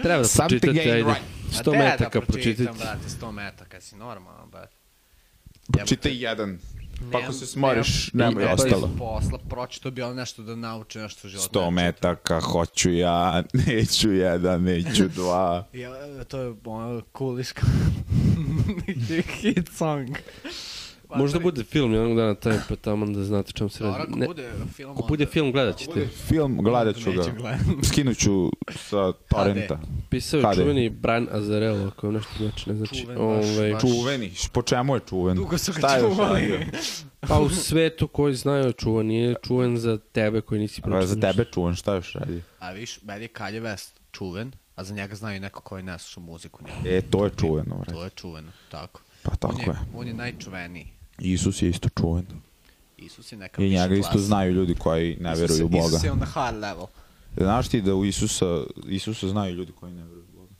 treba da Something pročitate, ain't ajde. right. 100 metaka pročitati. brate, 100 metaka, si normalan, brate. Čitaj jedan. Pa ako Nemam- se smoriš, nemam- nemoj nemam- ostalo. Posla, pročito ono bi on nešto da nauče nešto u životu. 100 metaka, hoću ja, neću jedan, neću dva. Ja, to je ono, cool iska. Hit song. Pa Možda bude film jednog dana taj, pa tamo da znate o čemu se Dobro, radi. ako Ne, bude film, ako bude film, gledat ćete. Film, gledat ću ga. Neću gledat. Skinut ću sa torrenta. Pisao je Kada je? čuveni Brian Azarello, ako vam nešto znači, ne znači. Čuven, baš, Ovaj, baš. Čuveni, š- po čemu je čuven? Dugo su Šta ga je još čuvali. radio? pa u svetu koji znaju čuvan, nije čuvan za tebe koji nisi Pa, pročitao. Za tebe čuven, šta još radi? A viš, meni je Kanye West čuven, a za njega znaju neko koji ne sluša muziku. njemu. E, to je čuveno, brate. To je čuveno, tako. Pa on tako je, je. On je najčuveniji. Isus je isto čuven. Isus je neka I viša njega isto klasa. znaju ljudi koji ne Isus- veruju u Boga. Isus je on the high level. Znaš ti da u Isusa, Isusa znaju ljudi koji ne veruju u Boga.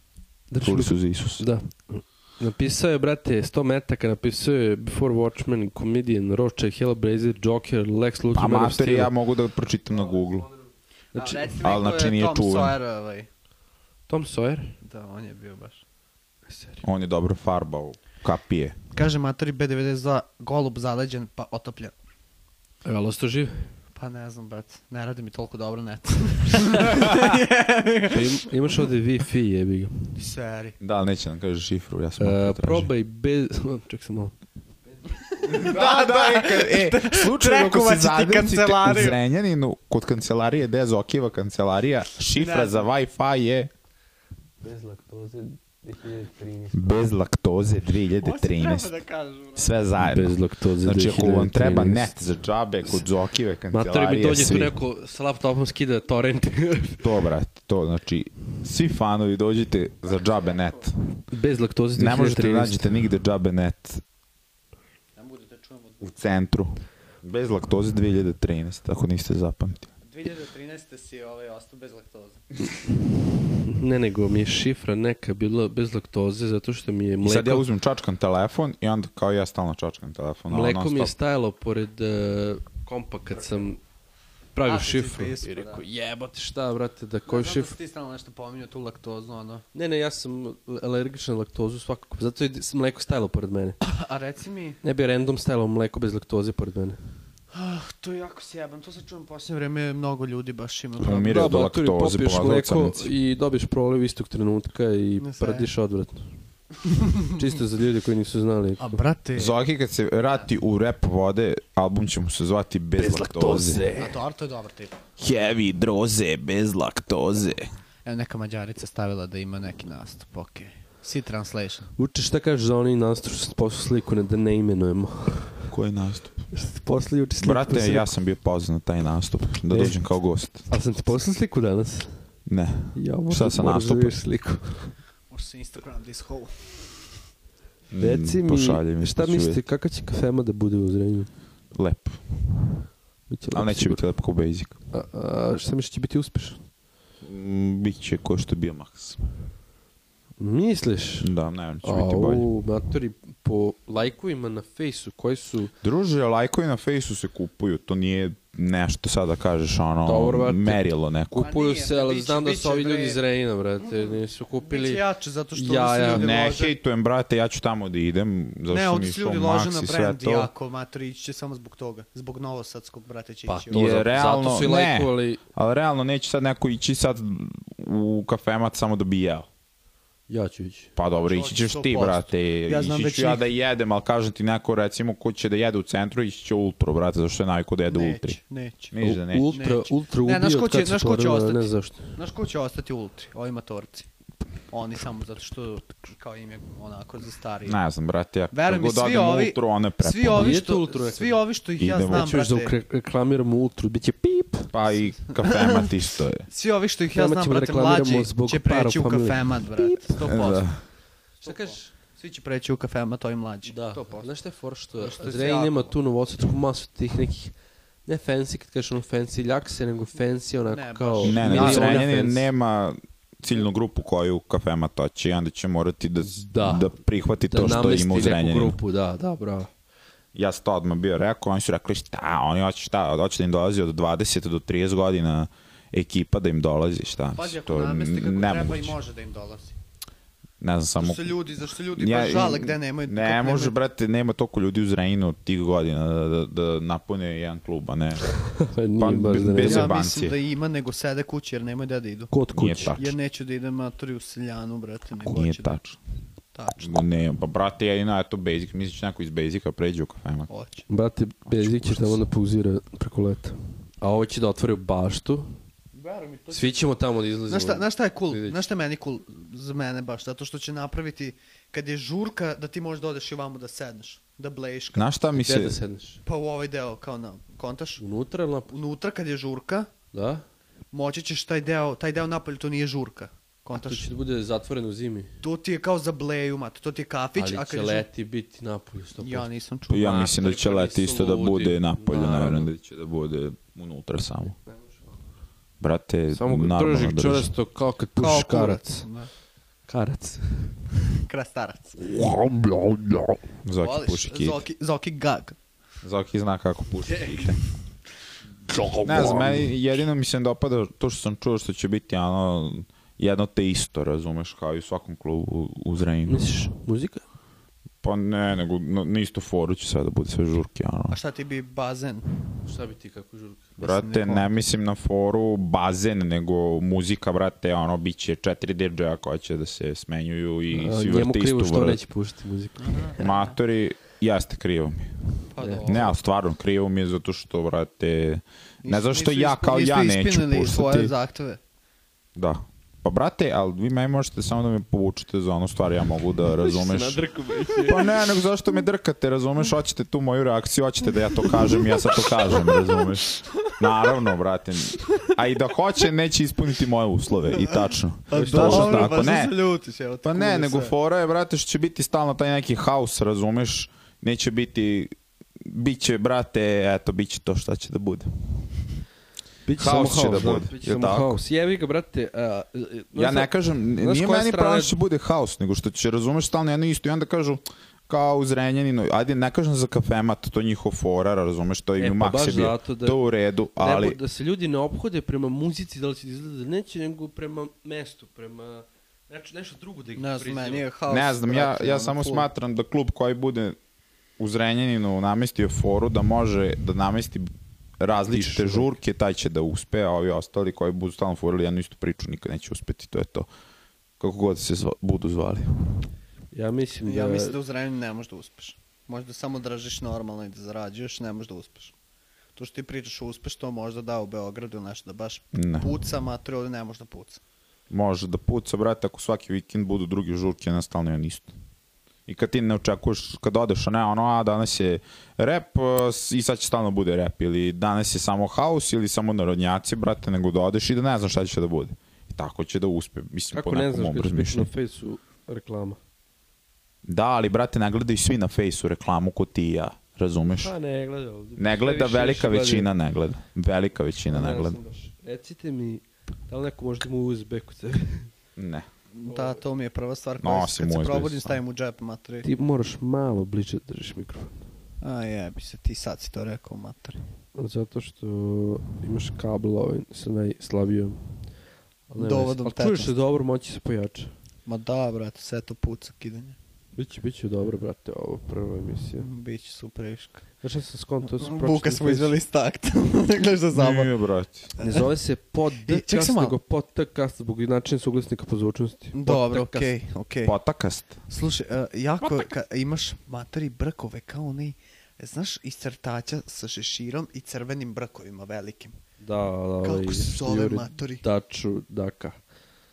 Drži Čuli mi- su za Isusa. Da. Napisao je, brate, 100 metaka, napisao je Before Watchmen, Comedian, Roche, Hellblazer, Joker, Lex Luthor, Pa Man of mater, Steel. ja mogu da pročitam na Google. Znači, A, reci mi ali ko znači je nije Tom čuven. Sawyer, ovaj. Tom Sawyer? Da, on je bio baš. On je dobro farbao kapije. Kaže Matori B92, golub zaleđen pa otopljen. Evo, osto živ? Pa ne znam, brat, ne radi mi toliko dobro net. Pa im, imaš ovde Wi-Fi, jebi ga. Seri. Da, ali neće nam kaže šifru, ja sam E, uh, probaj bez... Ček sam malo. Da, da, i kad, e, slučajno ako se Trekovat će ti zadesite u kancelariju. Zrenjaninu, kod kancelarije, gde je Zokijeva kancelarija, šifra Ne. za Wi-Fi je Bez laktoze 2013. bez laktoze Ovo si 2013. treba da ono. kažu, brat. Sve zajedno. Bez laktoze Znači, ako vam treba 2013. net za džabe kod Zokijeve kancelarije, Mater mi dođe svi. tu neko sa laptopom skida torrent. To, brate, to, znači, svi fanovi dođite za džabe net. bez laktoze 2013. Ne možete da nađete nigde džabe net Ne mogu da te čujem od u centru. Bez laktoze 2013, ako niste zapamtili. 2013. si ovaj ostao bez laktoze. Ne, nego mi je šifra neka bila bez laktoze zato što mi je I mleko... sad ja uzmem čačkan telefon i onda kao ja stalno čačkam telefon. ono ali Mleko non mi je stop. stajalo pored e, kompa kad sam pravio A, kad si šifru pisao, i rekao da. jebate šta brate da Znam koju da si šifru ti stalno nešto pominjao tu laktozu, ono. Ne, ne, ja sam alergičan na laktozu svakako. Zato je s- mleko stajalo pored mene. A reci mi, Ne bi random stajalo mleko bez laktoze pored mene. ah, to je jako sjebano, to se čujem posljednje vreme, mnogo ljudi baš ima. Umire od maturi, laktoze, popiješ pomagao mleko crnici. i dobiješ proliv istog trenutka i Ne staje. prdiš odvratno. Čisto za ljude koji nisu znali. A brate, Zoki kad se vrati u rap vode, album će mu se zvati Bez, laktoze. a e, to, to je dobar tip. Heavy droze, bez laktoze. Evo neka mađarica stavila da ima neki nastup, okej. Si translation. Uče šta kažeš za oni nastup što sam poslao sliku ne, da ne imenujemo. Koji nastup? Posle juče sliku. Brate, ja sam bio pozvan na taj nastup, da E. dođem kao gost. A sam ti poslao sliku danas? Ne. Ja, Šta možda sa moraš da nastupa? vidiš sliku. Možda se Instagram this hole. Mm, Reci pošalji mi, šta pa ću mislite, vidjeti. kakva će kafema da bude u Zrenju? Lepo. Biće Ali lepo neće sigurno. biti lepo kao basic. A, a, šta misliš će biti uspešan? Mm, Biće ko što je bio Max. Misliš? Da, ne, će biti bolje. Au, matori, po lajkovima na fejsu koji su... Druže, lajkovi na fejsu se kupuju, to nije nešto sad da kažeš ono Dobro, brate. merilo neko. Kupuju Pa nije, se, ali biće- znam da biće, su ovi ljudi bre. iz Reina, brate, Mm. nisu kupili... Biće jače, zato što Ja, ja, ja. ja. Pa, ljudi Ne lože... hejtujem, brate, ja ću tamo da idem, zato Ne, što mi ovdje je su išao ljudi lože Max na i sve brand to. jako, mater, ići će samo zbog toga. Zog Novosadskog, brate, će Pa ići. to, ovo. Je, zato, zato realno, su i ne. lajkovali... Ali realno neće sad neko ići sad u kafemat samo da bi jeo. Ja ću ići. Pa dobro, Hoćeš ići ćeš ti, 100%. brate. Ja znam ići već ću ja njih. da jedem, ali kažem ti neko, recimo, ko će da jede u centru, ići će ultru, brate, zašto je naviko da jede u ultri. Neće, neće. Misliš da neće? Ultra, Neće. ultra Ne, ubio znaš ko od kad će- se znaš ko će otvorila, ne ostati? znam zašto. Znaš ko će ostati ultri? Ovi matorci. Oni samo zato što kao im je onako za starije. Ne znam, brate, ja Veruj kad mi, god svi odem u ovi, ultru, one svi prepune. ovi Idete što, ultru nekad? svi ovi što ih ja Idemo. znam, Čuješ da brate, ukre- reklamiramo ultru, bit će pip! Pa i kafemat isto je. svi ovi što ih ja Nama znam, ćemo brate, reklamiramo mlađi zbog će para preći u familije. kafemat, brate, 100%. E, Da. Šta kažeš? Svi će preći u kafemat, ovi mlađi. Da, 100%. znaš šta je for što Znaš šta je Zrenj sjako? nema tu novosadsku masu tih nekih ne fancy, kad kažeš ono fancy ljakse, nego fancy onako Ne, baš. kao... Ne, ne, miliona Zrenjanin fancy. nema ciljnu grupu koju kafema toči i onda će morati da, Da. da. prihvati da to što namesti ima u neku Zrenjaninu. grupu, da, da, bravo. Ja sam to odmah bio rekao, oni su rekli šta, oni hoće šta, hoće da im dolazi od 20 do 30 godina ekipa da im dolazi, šta. Znači, Pazi, ako to je nameste kako treba i nemoguće. može da im dolazi. Ne znam, samo... Zašto se ljudi, zašto ljudi baš žale gde nemaju... kako Ne nemaju- može, brate, nema toliko ljudi u Zrenjinu tih godina da, da, da napune jedan klub, a ne. Pa nije Pa, baš da ne bez- znam. Ja zebancije. mislim da ima, nego sede kući jer nemaju gde da idu. Kod Nije kuće. tačno. Jer neću da idem matori u seljanu, brate, nego Nije hoću da... tačno. Tačno, Ne, pa brate, jedino je to basic, misliš će neko iz basica pređe u kafema. hoću. Brate, Bezik će tamo da ono pauzira preko leta. A ovo će da otvore u baštu. Svi ćemo tamo da izlazimo. Znaš šta, znaš šta je cool? Vidjet Znaš šta je meni cool za mene baš? Zato što će napraviti, kad je žurka, da ti možeš da odeš i vamo da sedneš, da blejiš. Kao, Znaš šta mi Gde se... da sedneš? pa u ovaj deo, kao na, kontaš? Unutra ili napolje? Unutra kad je žurka, Da? moći ćeš taj deo, taj deo napolje, to nije žurka. To Kontaš? će da bude zatvoreno u zimi. To ti je kao za bleju, mat, to ti je kafić, a Ali kad će je žurka... leti biti napolje 100%. Ja nisam čuo. Pa Ja Ma, mislim da će trkali su leti isto da ludi. bude napolje, Naravno. naravno da će da bude unutra samo. Brate, Samo normalno držih drži. čorasto kao kad Kao pušiš kurac. karac. Da. Karac. Krastarac. Zoki Voliš? puši kit. Zoki, Zoki gag. Zoki zna kako puši kite. Ne znam, meni jedino mi se ne dopada to što sam čuo što će biti ono jedno te isto, razumeš, kao i u svakom klubu u- u Zrenjinu. Misliš, muzika? Pa ne, nego na, na isto foru će sve da bude sve žurke, ono. A šta ti bi bazen? Šta bi ti kako žurka? Brate, ne mislim na foru bazen, nego muzika, brate, ono, bit će četiri DJ-a koja će da se smenjuju i svi Njemu vrte krivo istu što vrtu. neće puštati muziku. Matori, jeste, krivo mi. je. Pa Ne. dobro. Ne, ali stvarno, krivo mi je zato što, brate, ne Nisu- znam što nisu ja isp- kao ja nisu neću ispunili svoje puštati. zahteve. Da. Pa, brate, ali vi meni možete samo da me povučete za onu stvar, ja mogu da razumeš. pa ne, nego zašto me drkate, razumeš? Hoćete tu moju reakciju, hoćete da ja to kažem, ja sad to kažem, razumeš? Naravno, brate. A i da hoće, neće ispuniti moje uslove, i tačno. Tačno tako, ne. ljutiš, pa evo. Pa ne, nego fora je, brate, što će biti stalno taj neki haos, razumeš? Neće biti, bit će, brate, eto, bit će to šta će da bude. Biće Haos će da bude, Biće jel samo tako? haos. Jevi ga, brate. a, e, Ja znaš da- ne kažem, znaš nije koja meni strana- pravno što će bude haos, nego što će, razumeš, stalno jedno isto i onda kažu, kao u Zrenjaninu, ajde, ne kažem za kafemat, to je njihov forar, razumeš, to im E, je pa maks baš je bio, zato da- to u redu, ali... Nebo, da se ljudi ne obhode prema muzici, da li će da izgleda da neće, nego prema mestu, prema neč, nešto drugo da ih Ne znam, priziva. meni je haos. ne znam, ja, ja ono, samo smatram da klub koji bude u Zrenjaninu namestio foru da može da namesti različite žurke, taj će da uspe, a ovi ostali koji budu stalno forili jednu istu priču nikad neće uspeti, to je to. Kako god se zva- budu zvali. Ja mislim da... Ja mislim da u Zrenjaninu ne možeš da uspeš. Možeš da samo držiš normalno i da zarađuješ, ne možeš da uspeš. To što ti pričaš uspeš, to možda da u Beogradu ili nešto, da baš Ne. puca, mater, ovdje ne može da puca. Može da puca, brate, ako svaki vikend budu drugi žurke na stalno jedan isto. I kad ti ne očekuješ, kad odeš, a ne, ono, a danas je rap a, s- i sad će stalno bude rap, ili danas je samo house ili samo narodnjaci, brate, nego da odeš i da ne znaš šta će da bude. I tako će da uspe. Mislim, Kako po ne nekom znaš mom kad će biti na razmišljanju. fejsu reklama? Da, ali brate, nagledaju svi na fejsu reklamu ko ti i ja, razumeš? Pa ne gleda ovdje. Ne gleda, velika većina ne gleda. Velika većina ne gleda. Recite mi, da li neko može da mu uzbe kod sebe? Ne. Da, to mi je prva stvar koja se, Nosim kad se USB probudim sam. stavim u džep, matri. Ti moraš malo bliže da držiš mikrofon. A jebi se, ti sad si to rekao, matri. Zato što imaš kabel ovaj sa najslabijom. Ali nema Dovodom veze. Ali čuješ se 15. dobro, moći se pojača. Ma da, brate, sve to puca kidanje. Biće, biće dobro, brate, ovo prva emisija. Biće super viška. Znaš šta sam skonto? to sam Buka pročitao smo na izveli iz takta. Ne gledaš da zabavno. Nije, brate. Facebooku. Ne zove se E, ček podcast, sam malo. nego podcast zbog načina suglasnika po zvučnosti. Dobro, Podcast. okej, okej. Potakast. Slušaj, e, jako je ka, imaš materi brkove kao onaj, znaš, iz crtaća sa šeširom i crvenim brkovima velikim. Da, da, ovaj, Kako se zove, Juri matori? Daču, Daka.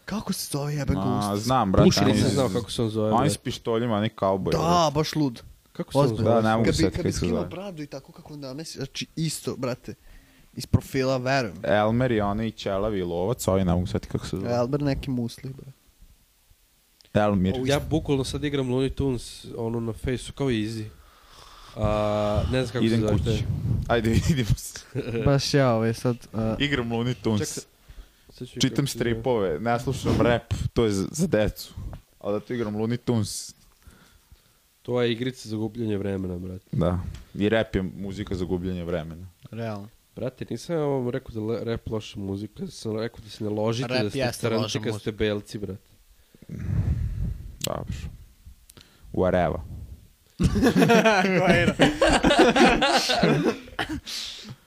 Kako se zove jebe Ma, gust? znam, brate. Puši, oni nisam iz- znao kako se on zove. Oni brate. s pištoljima, oni ono. kauboj. Da, baš lud. Kako se on Ozbiljno. zove? Da, ne mogu Kad bi, sad kad kako bi se skinuo zove. bradu i tako kako danas, znači isto, brate, iz profila verujem. E, Elmer i oni i Ćelavi i Lovac, ovi ne mogu sveti kako se zove. Albert neki musli, brate. Elmir. Ja bukvalno sad igram Looney Tunes, ono na fejsu, kao easy. A, ne znam kako se Idem zove. kući. Ajde, vidimo se. Baš ja ovaj sad... a, Igram Looney Čekaj, Tunes. Sad ću Čitam kako se zove. stripove, ne slušam rap, to je za, za decu. Ali da tu igram Looney Tunes. To je igrica za gubljenje vremena, brate. Da. I rap je muzika za gubljenje vremena. realno. Brate, nisam ja vam rekao da le- rap loša muzika, ja sam rekao da se ne ložite, Rap da ste jeste stranci loša kad ste belci, brate. Dobro. Whatever.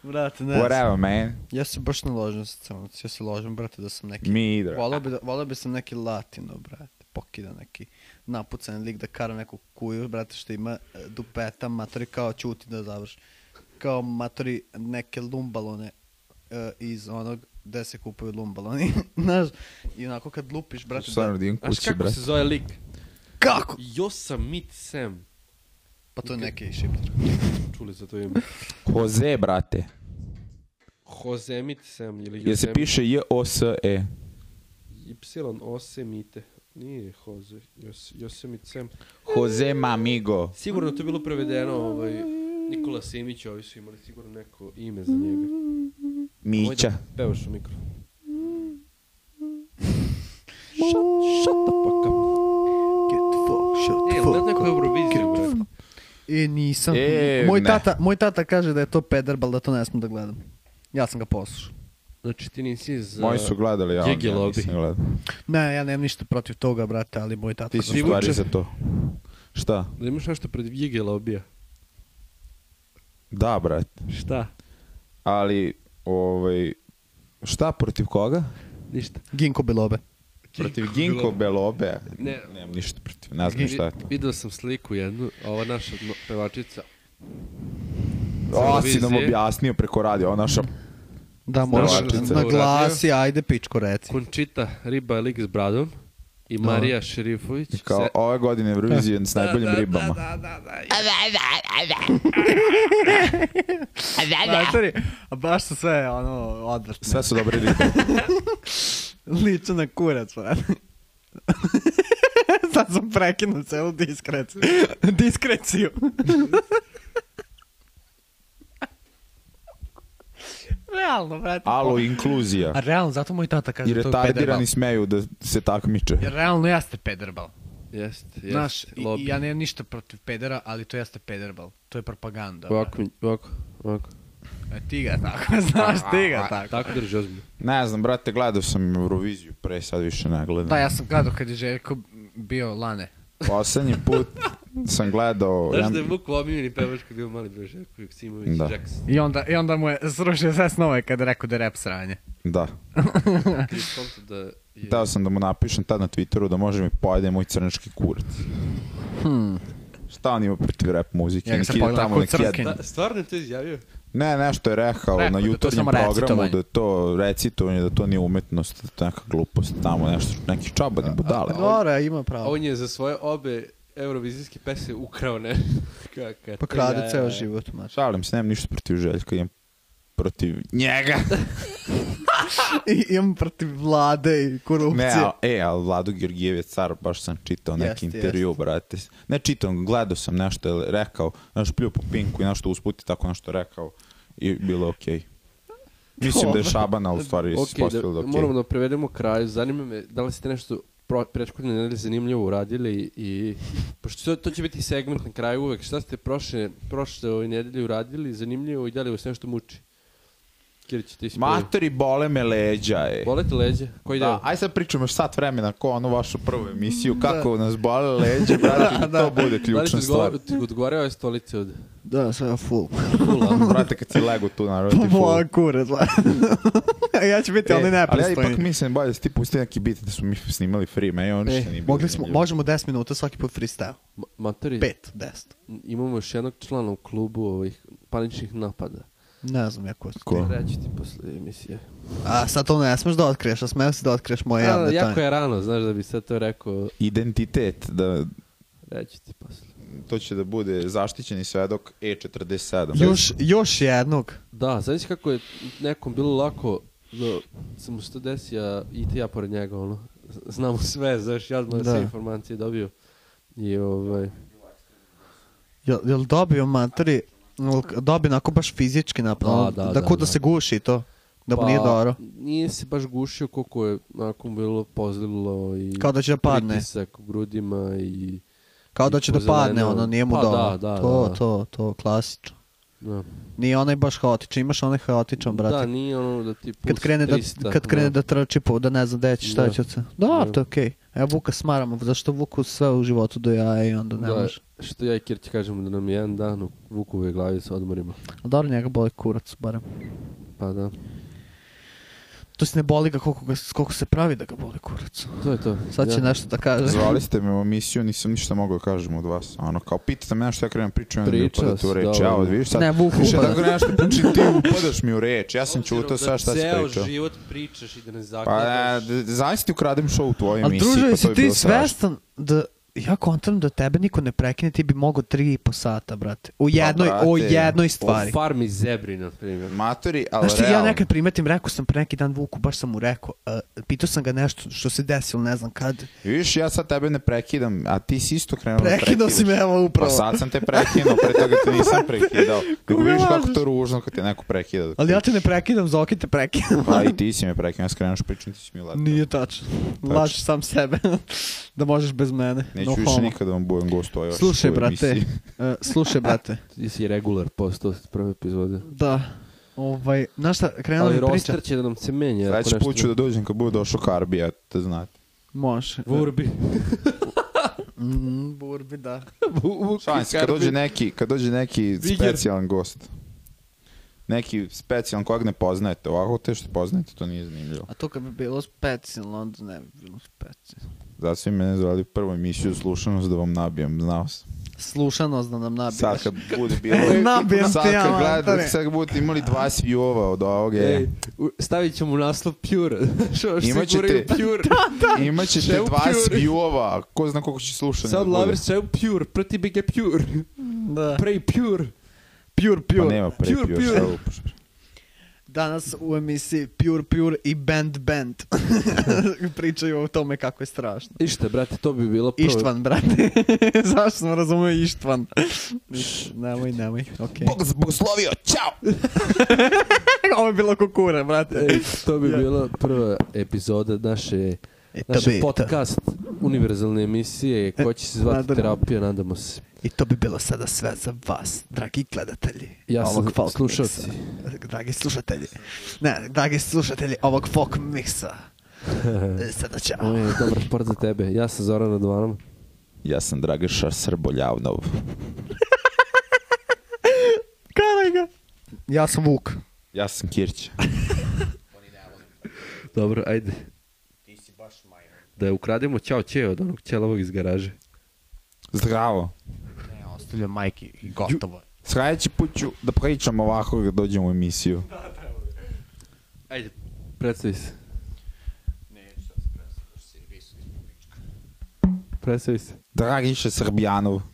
Brate, ne znam. Whatever, man. Ja se baš ne ložim sa crnoc, ja se ložim, brate, da sam neki... Mi idra. Volao bi, da, volao bi sam neki latino, brate, pokida neki napucan lik da kara neku kuju, brate, što ima e, dupeta, matori kao čuti da završi. Kao matori neke lumbalone e, iz onog gde se kupuju lumbaloni, znaš, i onako kad lupiš, brate, Stvarno da, da idem Znaš kući, kako brate. se zove lik? kako? Yosemite Sam. Pa to je neki šipter. Čuli za to ime? Jose, brate. Hozemite Sam ili Jer se Yosemite- piše J-O-S-E. Y-Osemite. Nije Hoze, Yos- Yosemite Sam. Jose Mamigo. Sigurno je to bilo prevedeno, ovaj, Nikola Simić, ovi su imali sigurno neko ime za njega. Moj Mića. da pevaš u mikrofon. Shut, shut the fuck up. Get the fuck, shut E, the jel dat fuck. neko Euroviziju, brate? E, nisam. E, moj, ne. tata, moj tata kaže da je to pederbal, da to ne smem da gledam. Ja sam ga poslušao. Znači ti nisi za... Moji su gledali, ja, Gigi ja Lobby. nisam gledao. Ne, ja nemam ništa protiv toga, brate, ali moj tata... Ti si Ti u stvari vuče- za to. Šta? Da imaš nešto pred Gigi lobija. Da, brate. Šta? Ali, ovaj... Šta, protiv koga? Ništa. Ginko Bilobe. Protiv Ginko Belobe. Ne. Nemam ništa protiv, ne znam Vi- šta je. Video sam sliku jednu, ova naša no- pevačica. O, si Televizije. nam objasnio preko ono radija, ona naša... Da, moraš Znavačica. naglasi, ajde pičko reci. Končita Riba je lik s bradom. I Marija Šerifović. Kao, Se- ove godine Eurovision s najboljim ribama. Matori, a baš su sve, ono, odvrtne. Sve su dobre ribe. Liče na kurac, brate. Sad sam prekinuo celu diskreciju. Diskreciju. realno, brate. Alo, inkluzija. A realno, zato moj tata kaže I da to je pederbal. retardirani smeju da se takmiče. Jer realno jeste pederbal. Jeste, jeste. Znaš, i, lobby. i ja nemam ništa protiv pedera, ali to jeste pederbal. To je propaganda. brate. Ovako, mi- ovako, ovako. E, ti ga tako, znaš, ti ga tako. Tako drži ozbiljno. Ne znam, brate, gledao sam Euroviziju pre, sad više ne gledam. Da, Pa ja sam gledao kad je Željko bio lane. Poslednji put sam gledao... Znaš da je ja- Vuk omiljeni pevač kad je bio mali broj Željko Joksimović Da. i Jackson. I onda, I onda mu je srušio sve snove kad je rekao da je rap sranje. Da. Ti je skonto da je... Hteo sam da mu napišem tad na Twitteru da može mi pojede moj crnački kurac. Šta on ima protiv rap muzike? Hmm. Ja ga Nek sam ide pogledao tamo kao nek crnkin. jede. Da, stvarno je to izjavio? Ne, nešto je Rekao rekao na je da je to jutarnjem samo programu recitovanje. da je to recitovanje, da to nije umetnost, da je to neka glupost tamo, nešto, neki čabani budale. Dora ima A pravo. on je za svoje obe eurovizijske pese ukrao ne. Kaka. Pa krade ceo život, mač. Šalim se, nemam ništa protiv Željka, imam protiv njega. I imam protiv vlade i korupcije. Ne, a, e, ali Vlado Georgijev je car, baš sam čitao neki Jeste, intervju, brate. Ne čitao, gledao sam nešto, je rekao, znaš, plju po pinku i nešto usput i tako nešto rekao i bilo je okej. Mislim da je Šaban, ali u stvari okay, Ok, da, ispostavilo da, okej. moramo da prevedemo kraju. Zanima me, da li ste nešto pro- prethodne nedelje zanimljivo uradili i pošto to, to će biti segment na kraju uvek, šta ste prošle, prošle ove nedelje uradili zanimljivo i da li vas nešto muči? Kirić, ti si prvi. Matori bole me leđa, e. Bole te leđe? Koji deo? Da, aj sad pričamo još sat vremena ko onu vašu prvu emisiju, kako nas bole leđe, brate, da, to bude Da li ti ključna stvar. odgovara- ti odgovarao je stolice od... Da, sve ja full. Brate, kad si lego tu, Pa naravno, ti full. Bola kurac. ja ću biti E, onaj ali ja nepristojni. ipak mislim bolje da si ti pusti neki bit da smo mi snimali free, meni on ništa nije E, bilo. mogli smo, zanimljivo. možemo 10 minuta svaki put freestyle. Ma- Matori, 5, 10. imamo još jednog člana u klubu ovih paničnih napada. Ne znam ja ko su Ko? ti. Reći ti posle emisije. A sad to ne smeš da otkriješ, a smeš si da otkriješ moje A, javne jako tajne. je rano, znaš da bi sad to rekao, Identitet, da, reći ti posle. to će da bude zaštićeni svedok E47. Još, još jednog. Da, znaš kako je nekom bilo lako da se mu se to desi, a i ti ja pored njega, ono. Z- Znamo sve, znaš, ja znam Da. sve informacije dobio. I ovaj... Jel, jel dobio materi, dobio onako baš fizički napravo, Da, da, da, da, da, ko da. da, se guši i to, da mu nije dobro. pa, Nije se baš gušio koliko je nakon bilo pozlilo i... Kao da će da padne, Pritisak u grudima i... kao da će da pozeleneo. padne, ono, nije mu Pa, dobro. da, da, to, da, da. to, to, klasično. Da, Nije onaj baš haotičan, imaš onaj haotičan, brate. da nije ono da ti pusti kad krene da 300, kad krene da trči po da ne znam gde će šta Da. će se. Da, Da. to je okej. Evo Vuka smaramo, zašto Vuku sve u životu do jaja i onda ne Da, može. Što ja i Kirć kažemo da nam je jedan dan u Vukove glavi sa odmorima. A Dobro njega boli kurac barem. Pa da, To se ne boli ga koliko, ga, koliko se pravi da ga boli kurac. to je to. Sad će ja. nešto da kaže. Zvali ste me u emisiju, nisam ništa mogao da kažem od vas. Ono, kao pitate me nešto, ja krenem priču, onda mi Pričao upadate u si, reč. dobro. Ja, vidiš sad, Ne, Vuk više upada. tako nešto pričam, ti upadaš mi u reč. Ja sam čutao sve šta si Ceo pričao. život pričaš i da ne Pa, zakladaš. e, zavisi ti ukradem show u tvojoj Ali emisiji. druže, pa si to bi ti bilo strašno. svestan da ja kontam da tebe niko ne prekine, ti bi mogao tri i po sata, brate. U jednoj, o Pa, brate, jednoj stvari. O farmi zebri, na primjer. Matori, ali Znaš što ja realno. nekad primetim, rekao sam pre neki dan Vuku, baš sam mu rekao, uh, pitao sam ga nešto što se desilo, ne znam kad. Viš, ja sad tebe ne prekidam, a ti si isto krenuo da Prekinuo si prekidaš. me, evo, upravo. Pa sad sam te prekinuo, pre toga te nisam prekidao. Nego Ko me vidiš kako lažeš? to ružno kad te neko prekida. dok Ali ja pričaš. te ne prekidam, Zoki te prekidam. Pa i ti si me prekinuo, ja skrenuš pričam, ti si mi letao. Nije tačno. Lažiš sam sebe. da možeš bez mene. Neću no više homo. nikada vam budem gost u ovoj Slušaj, vašoj brate. emisiji. e, slušaj, brate. Ti si regular postao s prve epizode. Da. Ovaj, znaš šta, krenula Ali mi priča. roster će da nam se menja. ako Sledeći nešto- put ću da dođem kad bude došao Karbi, a te znate. Može. Vurbi. Mm, burbi, da. Šalim se, kad dođe neki, kad dođe neki Bigger. specijalan gost. Neki specijalan kojeg ne poznajete, ovako te što poznajete, to nije zanimljivo. A to kad bi bilo specijalno, onda ne bi bilo specijalno. Zato su i mene zvali prvu emisiju slušanost da vam nabijem, znao sam. Slušanost da nam nabijaš. Sad kad bude bilo... Nabijem sad ti ja, kad Antone. gledate, sad kad budete imali 20 view-ova od ovoga, Ej, e, u- stavit ćemo naslov Pure. ono Što što Imat se guraju ćete- Pure. imat ćete Šeu 20 Pure. view-ova, ko zna koliko će slušanja Sad da bude. Lavir sve Pure, proti bige Pure. Da. Prej Pure. Pure, Pa pure. nema pre Pure, pure, pure. šta lupaš. Danas u emisiji Pure Pure i Band Band pričaju o tome kako je strašno. Išta, brate, to bi bilo prvo. Ištvan, brate. Zašto sam razumio Ištvan? nemoj, nemoj. Okay. Bog nas bogoslovio, čao! Ovo je bilo kukura, brate. Ej, to bi bila prva epizoda naše, I E, to, naše bi, podcast univerzalne emisije koja će se zvati Nadam- Terapija, nadamo se. I to bi bilo sada sve za vas, dragi gledatelji. Ja sam ovog folk slušalci. miksa. Dragi slušatelji. Ne, dragi slušatelji ovog folk miksa. E, Sada Ovo ćao. je dobar sport za tebe. Ja sam Zoran Radovanom. Ja sam Dragiša Srboljavnov. Kalaj ga. Ja sam Vuk. Ja sam Kirć. Dobro, ajde. Ti si baš Da ukrademo ćao ćeo od onog ćelovog iz garaže. Zdravo. Ne, ostavlja majke i gotovo. Sljedeći put ću da pričam ovako kad dođem u emisiju. Ajde, predstavi se. Predstavi se. Dragiša Srbljanov.